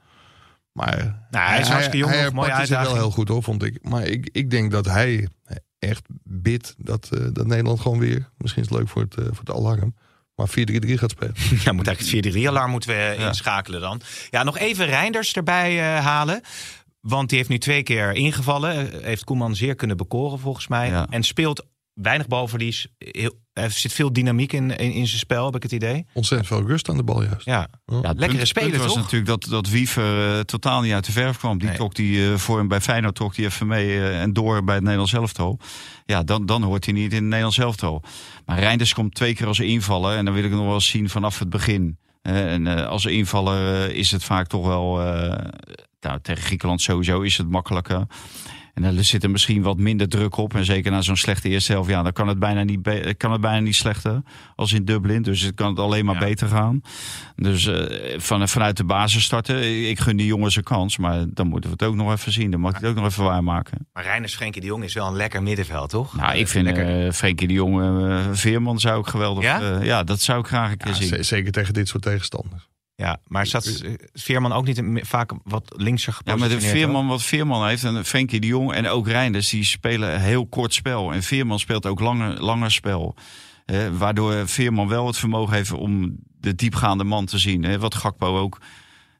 S5: Maar
S4: Nou, hij is hartstikke jong, nog, mooie
S5: herpakte zich wel
S4: uitdaging.
S5: heel goed hoor, vond ik. Maar ik, ik denk dat hij echt bidt dat, eh, dat Nederland gewoon weer... Misschien is het leuk voor het, eh, voor het alarm. Maar 4-3-3 gaat spelen.
S4: Ja, moet eigenlijk het 4-3-alarm moeten we eh,
S6: Ja.
S4: inschakelen dan. Ja, nog even Reinders erbij eh, halen. Want die heeft nu twee keer ingevallen. Eh, Heeft Koeman zeer kunnen bekoren volgens mij.
S6: Ja.
S4: En speelt weinig balverlies. Heel- Er zit veel dynamiek in, in, in zijn spel, heb ik het idee.
S5: Ontzettend veel rust aan de bal juist.
S4: Ja,
S6: Ja, het
S4: Lekkere
S6: punt-
S4: speler,
S6: punt was
S4: toch?
S6: natuurlijk dat, dat Wiever eh, totaal niet uit de verf kwam. Die
S4: Nee.
S6: trok die eh, voor hem bij Feyenoord trok die even mee eh, en door bij het Nederlands elftal. Ja, dan, dan hoort hij niet in het Nederlands elftal. Maar Reinders komt twee keer als invaller. En dan wil ik nog wel eens zien vanaf het begin. Eh, en eh, als invaller eh, is het vaak toch wel... eh, nou, tegen Griekenland sowieso is het makkelijker. En dan zit er misschien wat minder druk op. En zeker na zo'n slechte eerste helft. Ja, dan kan het bijna niet, be- kan het bijna niet slechter als in Dublin. Dus het kan het alleen maar
S4: Ja.
S6: beter gaan. Dus eh, van, vanuit de basis starten. Ik gun die jongens een kans. Maar dan moeten we het ook nog even zien. Dan mag ik het ook nog even waarmaken.
S4: maar Reinders Frenkie de Jong is wel een lekker middenveld, toch?
S6: Nou, ik vind
S4: Lekker.
S6: eh Frenkie de Jong, eh, Veerman zou ik geweldig...
S4: Ja?
S6: eh, ja, dat zou ik graag een keer
S5: Ja,
S6: zien.
S5: ze- zeker tegen dit soort tegenstanders.
S4: ja, maar staat eh, Veerman ook niet een- vaak wat linkser
S6: Ja, maar
S4: gepositioneerd?
S6: de Veerman, wat Veerman heeft, en Frenkie de Jong en ook Reinders, die spelen een heel kort spel. En Veerman speelt ook langer, langer spel. Eh, waardoor Veerman wel het vermogen heeft om de diepgaande man te zien. hè. wat Gakpo ook,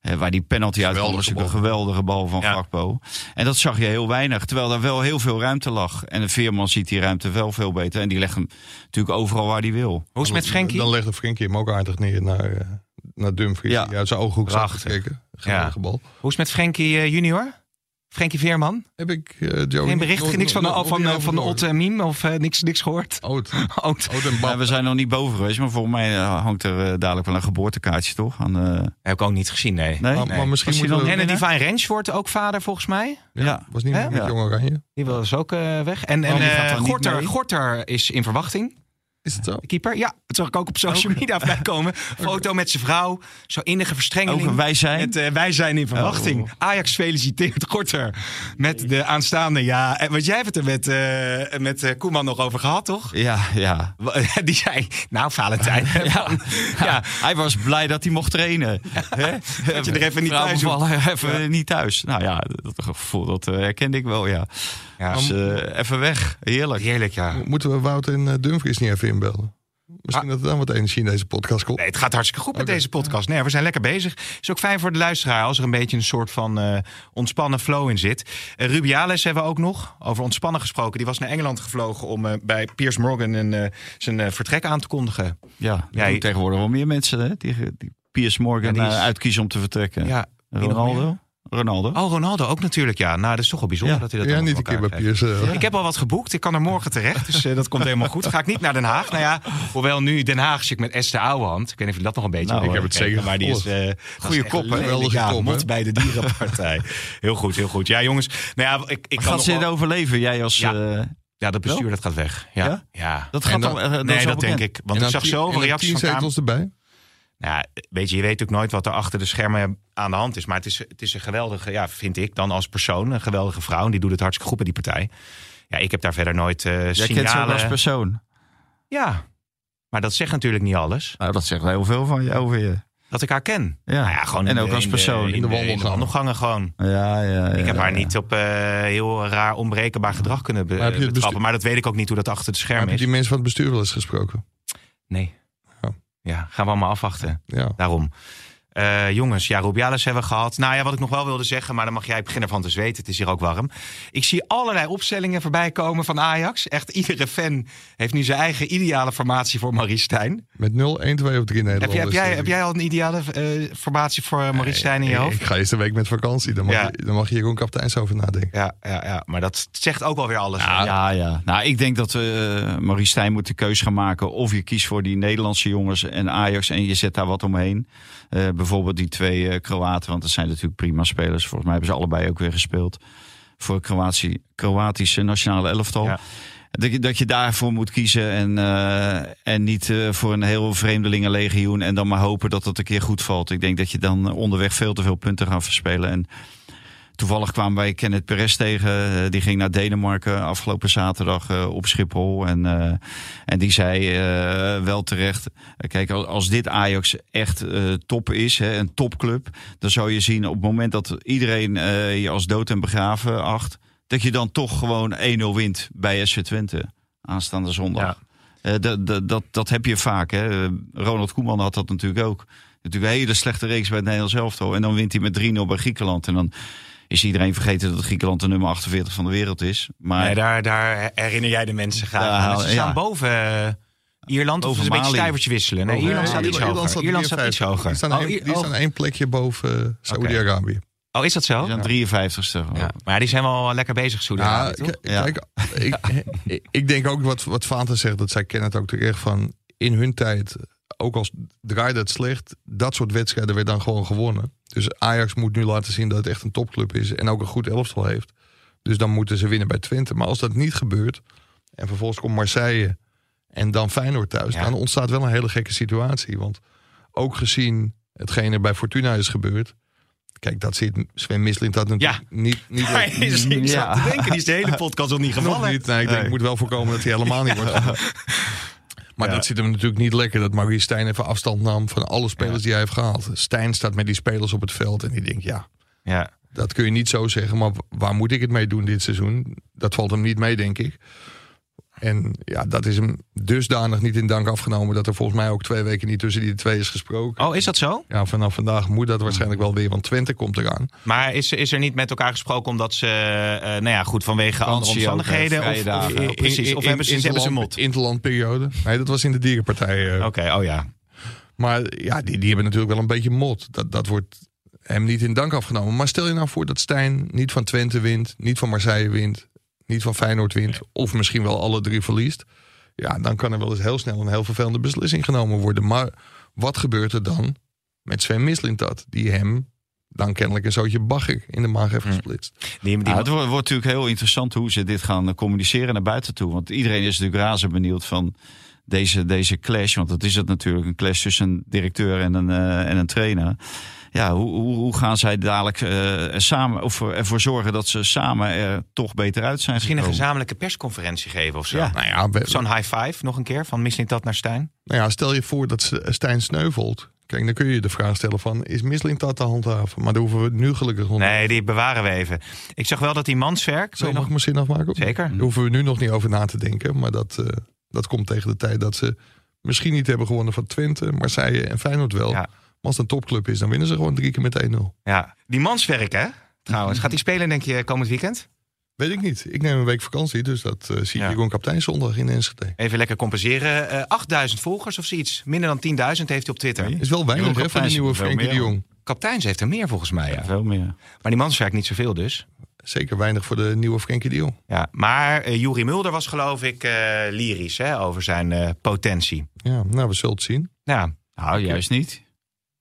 S6: eh, waar die penalty uit kwam, was
S5: Geweldige
S6: ook een geweldige bal van
S4: Ja.
S6: Gakpo. En dat zag je heel weinig, terwijl daar wel heel veel ruimte lag. En de Veerman ziet die ruimte wel veel beter. En die legt hem natuurlijk overal waar hij wil.
S4: Hoe is het met Frenkie?
S5: Dan legde Frenkie hem ook aardig neer naar, eh, naar Dumfries.
S6: Ja.
S5: Ja. Die uit zijn ooghoek zat te
S4: Prachtig.
S5: trekken. Geweldige bal.
S4: Hoe is het met Frenkie eh, junior? Frenkie Veerman?
S5: Heb ik eh, Joe...
S4: Geen bericht, niks van, van, van, eh, van Otte en Miem of eh, niks, niks gehoord?
S5: Oud.
S4: Oud.
S5: Oud en
S6: Maar
S5: Bab.
S6: we zijn nog niet boven geweest, maar volgens mij eh, hangt er eh, dadelijk wel een geboortekaartje, toch? Aan, eh,
S4: Heb ik ook niet gezien, nee.
S6: nee?
S5: Maar, maar misschien
S6: Was
S5: moeten
S6: hij dan
S5: we-
S4: En een
S6: Ja.
S4: Divine Range wordt ook vader volgens mij.
S6: Ja.
S5: Was niet meer
S4: Hè?
S5: met
S6: Ja.
S5: Jong Oranje.
S4: Die was ook eh, weg. En, en
S6: Oh, die
S4: eh,
S6: gaat dan niet
S4: Gorter,
S6: mee?
S4: Gorter is in verwachting,
S5: Is het zo?
S4: de keeper. Ja, dat zag ik ook op social media voorbij komen. Foto met zijn vrouw, zo innige verstrengeling.
S6: Over wij zijn.
S4: Met, eh, wij zijn in verwachting.
S6: Oh.
S4: Ajax feliciteert Gorter met de aanstaande. Ja, en want jij hebt het er met, eh, met eh, Koeman nog over gehad, toch?
S6: Ja, ja.
S4: Die zei, nou Valentijn, hè, van- ja,
S6: Hij was blij dat hij mocht trainen. Hè?
S4: dat je er even niet
S6: Vrouw
S4: thuis hoeft.
S6: bevallen, even niet thuis. Nou ja, dat gevoel dat eh, herkende ik wel, ja.
S4: Ja.
S6: Dus eh, even weg. Heerlijk.
S4: Heerlijk, ja.
S5: Mo- Moeten we Wout en eh, Dumfries niet even inbellen? Misschien dat er dan wat energie in deze podcast komt.
S4: Ah. Nee, het gaat hartstikke goed met deze podcast. Nee, we zijn lekker bezig. is ook fijn voor de luisteraar als er een beetje een soort van eh, ontspannen flow in zit. Eh, Rubiales hebben we ook nog over ontspannen gesproken. Die was naar Engeland gevlogen om eh, bij Piers Morgan een, eh, zijn eh, vertrek aan te kondigen.
S6: Ja, dat
S4: Ja,
S6: doen
S4: je-
S6: tegenwoordig wel meer mensen. Hè? Die, die Piers Morgan
S4: Ja, die is-
S6: eh, uitkiezen om te vertrekken.
S4: Ja.
S6: Ronaldo? Ronaldo?
S4: Oh, Ronaldo ook natuurlijk. Ja, nou, dat is toch wel bijzonder
S6: Ja.
S4: dat hij dat
S5: Ja,
S4: allemaal
S5: niet een
S4: voor
S5: keer bij
S4: elkaar krijgt.
S5: Piers. eh,
S4: Ik heb al wat geboekt. Ik kan er morgen terecht. Dus eh, dat komt helemaal goed. Ga ik niet naar Den Haag. Nou ja, hoewel nu Den Haag zit met Esther Ouwehand. Ik weet niet of je dat nog een beetje...
S6: Nou,
S4: hebt
S6: ik heb
S5: het zeker
S4: gekeken, Maar die is...
S5: gevolgd.
S4: eh,
S5: Goeie
S4: dat is echt
S5: kop, hè?
S4: lelijk.
S5: Geweldige
S4: Ja,
S5: kop, hè?
S4: mot bij de dierenpartij. heel goed, heel goed. Ja, jongens. Nou ja, ik, ik kan
S6: gaat
S4: nog
S6: ze
S4: wel-
S6: dit overleven? Jij als...
S4: Ja.
S6: eh,
S4: Ja, dat bestuur dat gaat weg. Ja.
S6: Ja?
S4: ja?
S6: dat gaat
S5: En dan-
S6: al, eh, dat
S4: nee,
S6: is al
S4: dat
S6: bekend.
S4: denk ik.
S5: en
S4: Want
S5: dan
S4: ik zag
S5: tien-
S4: zoveel
S5: en dan
S4: reacties van
S5: tien
S4: Kamer.
S5: zetels erbij.
S4: Nou, ja, weet je, je weet ook nooit wat er achter de schermen aan de hand is. Maar het is, het is een geweldige, ja, vind ik dan als persoon, een geweldige vrouw. En die doet het hartstikke goed bij die partij. Ja, ik heb daar verder nooit eh
S6: Jij kent ze ook als
S4: signalen.
S6: persoon.
S4: ja, maar dat zegt natuurlijk niet alles.
S6: Nou, dat zegt heel veel van je over je.
S4: dat ik haar ken.
S6: Ja.
S4: Nou ja gewoon
S6: En
S4: in
S6: ook
S4: de-
S6: als
S4: in
S6: persoon.
S4: De, in, de, in de wandelgangen gewoon.
S6: Ja, ja,
S4: Ik heb
S6: ja,
S4: haar
S6: ja.
S4: niet op eh, heel raar onbrekenbaar gedrag kunnen be-
S5: Maar heb je het
S4: betrappen.
S5: bestu-
S4: Maar dat weet ik ook niet hoe dat achter de
S5: Heb
S4: schermen
S5: je
S4: is.
S5: die mensen van het bestuur wel eens gesproken?
S4: Nee.
S5: Oh.
S4: Ja, gaan we allemaal afwachten.
S5: Ja.
S4: Daarom. Eh, jongens, ja, Rubiales hebben we gehad. Nou ja, wat ik nog wel wilde zeggen, maar dan mag jij beginnen van te zweten. Het is hier ook warm. Ik zie allerlei opstellingen voorbij komen van Ajax. Echt iedere fan heeft nu zijn eigen ideale formatie voor Marie Stijn.
S5: Met 0, 1, 2 of 3
S4: Heb,
S5: Nederlanders.
S4: jij- heb, jij,
S5: denk
S4: heb
S5: ik.
S4: jij al een ideale eh, formatie voor eh, Marie Stijn in je
S5: Ik-
S4: hoofd?
S5: Ik ga eerst een week met vakantie. Dan mag,
S4: Ja.
S5: je, dan mag je hier gewoon kapiteins over nadenken.
S4: Ja, ja, ja, maar dat zegt ook alweer alles.
S6: Ja, ja, ja. Nou, ik denk dat eh Marie Stijn moet de keus gaan maken. Of je kiest voor die Nederlandse jongens en Ajax en je zet daar wat omheen. Eh, bijvoorbeeld die twee eh, Kroaten, want dat zijn natuurlijk prima spelers. Volgens mij hebben ze allebei ook weer gespeeld voor Kroatië, Kroatische nationale elftal.
S4: Ja.
S6: Dat, je, dat je daarvoor moet kiezen en, eh, en niet eh, voor een heel vreemdelingenlegioen. En dan maar hopen dat het een keer goed valt. Ik denk dat je dan onderweg veel te veel punten gaat verspelen. En Toevallig kwamen wij Kenneth Perez tegen. Eh, die ging naar Denemarken afgelopen zaterdag eh, op Schiphol. En, eh, en die zei eh, wel terecht... eh, Kijk, als- als dit Ajax echt eh, top is, hè, een topclub... dan zou je zien op het moment dat iedereen eh, je als dood en begraven acht... dat je dan toch gewoon 1-0 wint bij SC Twente aanstaande zondag.
S4: Ja.
S6: Eh, dat- dat- dat, dat heb je vaak. Hè. Ronald Koeman had dat natuurlijk ook. Natuurlijk een hele slechte reeks bij het Nederlands elftal. En dan wint hij met 3-0 bij Griekenland. En dan is iedereen vergeten dat Griekenland de nummer 48 van de wereld is. Maar
S4: Nee, daar, daar herinner jij de mensen graag
S6: Ja,
S4: aan. Ze
S6: ja.
S4: staan boven eh, Ierland. of
S6: Boven
S4: ze een beetje
S6: Mali.
S4: stuivertje wisselen. Nee,
S6: Boven
S4: Ierland staat
S6: Mali.
S4: iets hoger. Ierland staat iets hoger.
S5: Die staan,
S4: Oh,
S5: één-
S4: I-
S5: die staan
S4: oh.
S5: één plekje boven eh, Saudi-Arabië.
S4: Oh, is dat zo?
S6: die zijn 53ste.
S4: Ja. Maar die zijn wel lekker bezig,
S5: Ja,
S4: Soederabië, toch?
S5: k- kijk, ik, ik- ik denk ook wat, wat Fanta zegt, dat zij kennen het ook terecht van in hun tijd, ook als draaide het slecht, dat soort wedstrijden werd dan gewoon gewonnen. Dus Ajax moet nu laten zien dat het echt een topclub is en ook een goed elftal heeft. Dus dan moeten ze winnen bij Twente. Maar als dat niet gebeurt en vervolgens komt Marseille en dan Feyenoord thuis,
S4: Ja.
S5: dan ontstaat wel een hele gekke situatie. Want ook gezien hetgeen er bij Fortuna is gebeurd, kijk, dat zit Sven Mislint dat natuurlijk niet, niet
S4: Hij is- ik
S6: Ja.
S4: zat te denken, die is de hele podcast nog niet
S5: nog
S4: gevallen.
S5: niet. Nee, ik denk, ik moet wel voorkomen dat hij helemaal niet wordt. genoemd. Maar dat zit hem natuurlijk niet lekker. Dat Maurice Stijn even afstand nam van alle spelers die hij heeft gehaald. Stijn staat met die spelers op het veld en die denkt, ja,
S4: Ja.
S5: dat kun je niet zo zeggen. Maar waar moet ik het mee doen dit seizoen? Dat valt hem niet mee, denk ik. En ja, dat is hem dusdanig niet in dank afgenomen... dat er volgens mij ook twee weken niet tussen die twee is gesproken.
S4: Oh, is dat zo?
S5: Ja, vanaf vandaag moet dat waarschijnlijk wel weer, want Twente komt eraan.
S4: Maar is, is er niet met elkaar gesproken omdat ze, eh, nou ja, goed, vanwege andere
S6: Vakantie ook, eh,
S4: omstandigheden? Of,
S6: vrije dagen.
S4: of- eh, precies, of hebben ze, ze hebben ze een mot?
S5: Interlandperiode. Nee, dat was in de dierenpartij. eh,
S4: Oké, oh ja.
S5: Maar ja, die, die hebben natuurlijk wel een beetje mot. Dat, dat wordt hem niet in dank afgenomen. Maar stel je nou voor dat Stijn niet van Twente wint, niet van Marseille wint, niet van Feyenoord wint, of misschien wel alle drie verliest. Ja, dan kan er wel eens heel snel een heel vervelende beslissing genomen worden. Maar wat gebeurt er dan met Sven Mislintat, die hem dan kennelijk een zootje bagger in de maag heeft gesplitst?
S4: Die, die,
S6: Ja, Nou, het wordt, wordt natuurlijk heel interessant hoe ze dit gaan eh, communiceren naar buiten toe. Want iedereen is natuurlijk razend benieuwd van deze, deze clash. Want dat is het natuurlijk, een clash tussen een directeur en een, eh, en een trainer. Ja, hoe, hoe, hoe gaan zij dadelijk eh, er samen, of er- ervoor zorgen dat ze samen er toch beter uit zijn
S4: misschien een
S6: gekomen?
S4: gezamenlijke persconferentie geven of zo.
S6: Ja.
S5: Nou ja, we-
S4: Zo'n high five nog een keer, van misschien dat naar Stijn.
S5: Nou ja, stel je voor dat S- Stijn sneuvelt. Kijk, dan kun je je de vraag stellen van... is Mislintat te handhaven? Maar daar hoeven we nu gelukkig nog
S4: Nee, die bewaren we even. Ik zag wel dat die manswerk...
S5: Zo mag ik mijn zin afmaken?
S4: Zeker.
S5: Daar hoeven we nu nog niet over na te denken. Maar dat, eh, dat komt tegen de tijd dat ze misschien niet hebben gewonnen van Twente, Marseille en Feyenoord wel.
S4: Ja.
S5: Maar als het een topclub is, dan winnen ze gewoon drie keer met 1-0.
S4: Ja, die manswerk hè, trouwens. Gaat die spelen denk je komend weekend?
S5: Weet ik niet. Ik neem een week vakantie, dus dat eh, zie
S4: Ja.
S5: je gewoon kapitein zondag in Enschede.
S4: Even lekker compenseren. Eh, 8000 volgers of zoiets. Minder dan 10.000 heeft hij op Twitter.
S5: Is wel weinig
S6: Jeroen
S5: hè, van de
S6: Kapteins
S5: nieuwe
S6: heeft wel
S5: Frenkie de
S6: meer.
S5: Jong.
S4: Kapteins heeft er meer volgens mij. Ja.
S6: Ja, veel meer.
S4: Maar die manswerk niet zoveel dus.
S5: Zeker weinig voor de nieuwe Frenkie de Jong.
S4: Ja. Maar eh Juri Mulder was geloof ik eh, lyrisch hè, over zijn eh, potentie.
S5: Ja, nou, we zullen het zien.
S4: Ja,
S6: Nou, juist niet.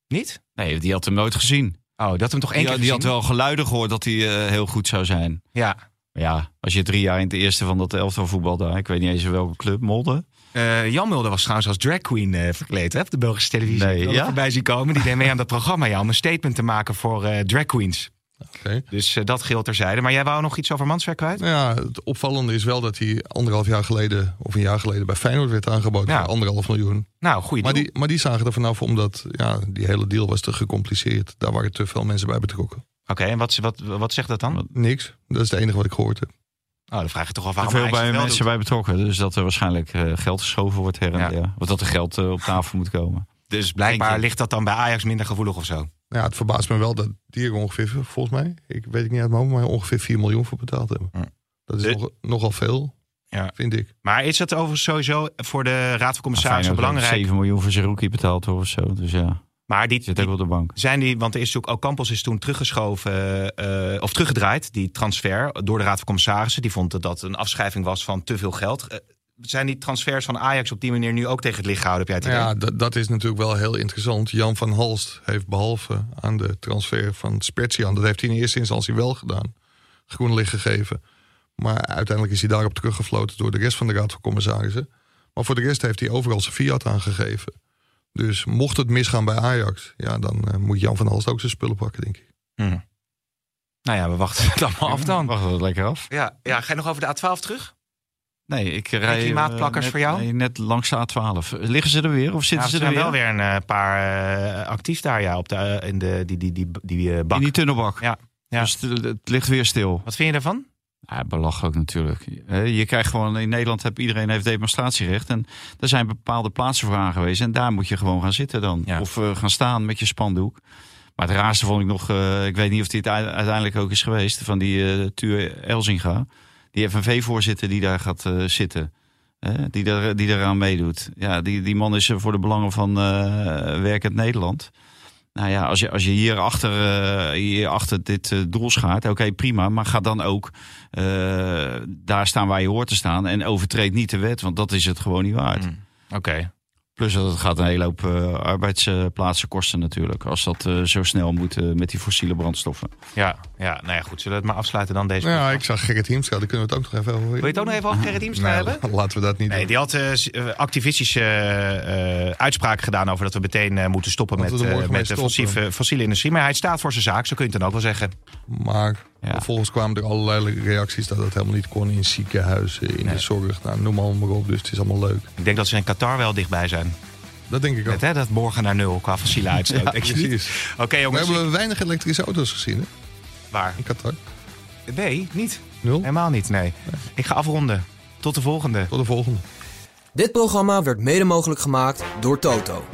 S4: niet?
S6: Nee, die had hem nooit gezien.
S4: Oh, dat hem toch één
S6: Die,
S4: keer
S6: die had
S4: gezien?
S6: wel geluiden gehoord dat hij eh, heel goed zou zijn.
S4: Ja.
S6: Maar Ja, als je drie jaar in het eerste van dat elftal voetbal daar, ik weet niet eens in welke club, Molde.
S4: Eh, Jan Mulder was trouwens als drag queen eh, verkleed hè, op de Belgische televisie.
S6: Nee,
S4: Ik had
S6: ja?
S4: het voorbij zien komen. Die deed mee aan dat programma ja, om een statement te maken voor eh, drag queens.
S5: Oké.
S4: Dus eh, dat geldt terzijde. Maar jij wou nog iets over Manswerk kwijt?
S5: Nou ja, het opvallende is wel dat hij anderhalf jaar geleden of een jaar geleden bij Feyenoord werd aangeboden
S4: Ja.
S5: voor anderhalf miljoen.
S4: Nou, goeie
S5: Maar
S4: deal.
S5: die, maar die zagen er vanaf omdat ja, die hele deal was te gecompliceerd. Daar waren te veel mensen bij betrokken.
S4: Oké, en wat, wat, wat zegt dat dan? Oh,
S5: Niks. Dat is het enige wat ik gehoord heb.
S4: Nou, dan vraag je toch af
S6: Er
S4: waarom
S6: veel
S4: Ajax
S6: bij
S4: het wel
S6: mensen
S4: doet.
S6: bij betrokken. Dus dat er waarschijnlijk eh, geld geschoven wordt her en
S4: Ja.
S6: der. Of dat er geld eh, op tafel moet komen.
S4: Dus blijkbaar
S6: Denk je-
S4: ligt dat dan bij Ajax minder gevoelig of zo.
S5: Nou ja, het verbaast me wel dat die er ongeveer, volgens mij, ik weet het niet uit mijn hoofd, maar ongeveer 4 miljoen voor betaald hebben.
S4: Ja.
S5: Dat is
S4: De-
S5: nog- nogal veel,
S4: Ja.
S5: vind ik.
S4: Maar is dat overigens sowieso voor de Raad van Commissarissen
S6: Feyenoord heeft
S4: belangrijk?
S6: 7 nou miljoen voor zijn rookie betaald hoor, of zo. Dus ja,
S4: Maar die,
S6: zit ook op de bank.
S4: zijn die, want er is natuurlijk ook Campos is toen teruggeschoven eh, of teruggedraaid, die transfer door de Raad van Commissarissen. Die vond dat dat een afschrijving was van te veel geld. Eh, zijn die transfers van Ajax op die manier nu ook tegen het licht gehouden, heb jij het idee?
S5: Ja, dat, dat is natuurlijk wel heel interessant. Jan van Halst heeft behalve aan de transfer van Spetsian, dat heeft hij in eerste instantie wel gedaan, groen licht gegeven. Maar uiteindelijk is hij daarop teruggefloten door de rest van de Raad van Commissarissen. Maar voor de rest heeft hij overal zijn fiat aangegeven. Dus mocht het misgaan bij Ajax, ja, dan eh, moet Jan van Halst ook zijn spullen pakken, denk ik.
S4: Hm. Nou ja, we wachten het allemaal af dan.
S6: Wacht dat lekker af.
S4: Ja, ja, ga je nog over de A12 terug?
S6: Nee, ik rij... eh,
S4: klimaatplakkers
S6: net-
S4: voor jou?
S6: nee, net langs de A12. Liggen ze er weer of
S4: Ja,
S6: zitten
S4: er
S6: ze er
S4: zijn
S6: weer?
S4: wel weer een eh, paar eh, actief daar ja, op de, eh, in de, die, die, die, die eh, bak.
S6: In die tunnelbak.
S4: Ja, ja.
S6: Dus het, het ligt weer stil.
S4: Wat vind je daarvan?
S6: Ja, belachelijk natuurlijk. Eh, Je krijgt gewoon, in Nederland heb iedereen heeft demonstratierecht. En er zijn bepaalde plaatsen voor aangewezen. En daar moet je gewoon gaan zitten dan.
S4: Ja.
S6: Of eh, gaan staan met je spandoek. Maar het raarste vond ik nog, eh, ik weet niet of dit ui- uiteindelijk ook is geweest, van die eh Tuur Elzinga. Die FNV-voorzitter die daar gaat eh, zitten. Eh, die, daar, die daaraan meedoet. Ja, die, die man is eh, voor de belangen van eh, werkend Nederland. Nou ja, als je, als je hierachter, eh, hierachter dit eh, doel schaart, oké prima. Maar ga dan ook eh, daar staan waar je hoort te staan. En overtreed niet de wet, want dat is het gewoon niet waard.
S4: Oké.
S6: Plus dat het gaat een hele hoop eh, arbeidsplaatsen kosten natuurlijk. Als dat eh, zo snel moet eh, met die fossiele brandstoffen.
S4: Ja, ja, nou ja, goed. Zullen we het maar afsluiten dan deze?
S5: Ja, ik zag Gerrit Hiemstra, daar kunnen we het ook nog even over
S4: Wil je het ook nog even over Gerrit Diemstra
S5: Nou,
S4: hebben?
S5: Laten we dat niet
S4: Nee,
S5: doen.
S4: die had eh, z- eh, activistische eh, eh, uitspraken gedaan over dat we meteen eh, moeten stoppen
S5: Moeten
S4: met,
S5: we er
S4: eh,
S5: morgen
S4: met de
S5: mee
S4: fossiele,
S5: stoppen.
S4: fossiele industrie. Maar hij staat voor zijn zaak, zo kun je het dan ook wel zeggen.
S5: Maar
S6: Ja.
S5: vervolgens kwamen er allerlei reacties dat dat helemaal niet kon in ziekenhuizen, in
S4: Nee.
S5: de zorg. Nou, noem allemaal maar op, dus het is allemaal leuk.
S4: Ik denk dat ze in Qatar wel dichtbij zijn.
S5: Dat denk ik ook.
S4: Net, hè, dat morgen naar nul qua fossiele uitstoot. denk je niet?
S5: Precies.
S4: Oké
S5: We
S4: jongens,
S5: hebben weinig elektrische auto's gezien hè,
S4: waar?
S5: in Qatar.
S4: Nee, niet.
S5: Nul.
S4: Helemaal niet, nee. Ik ga afronden. Tot de volgende.
S5: Tot de volgende.
S2: Dit programma werd mede mogelijk gemaakt door Toto.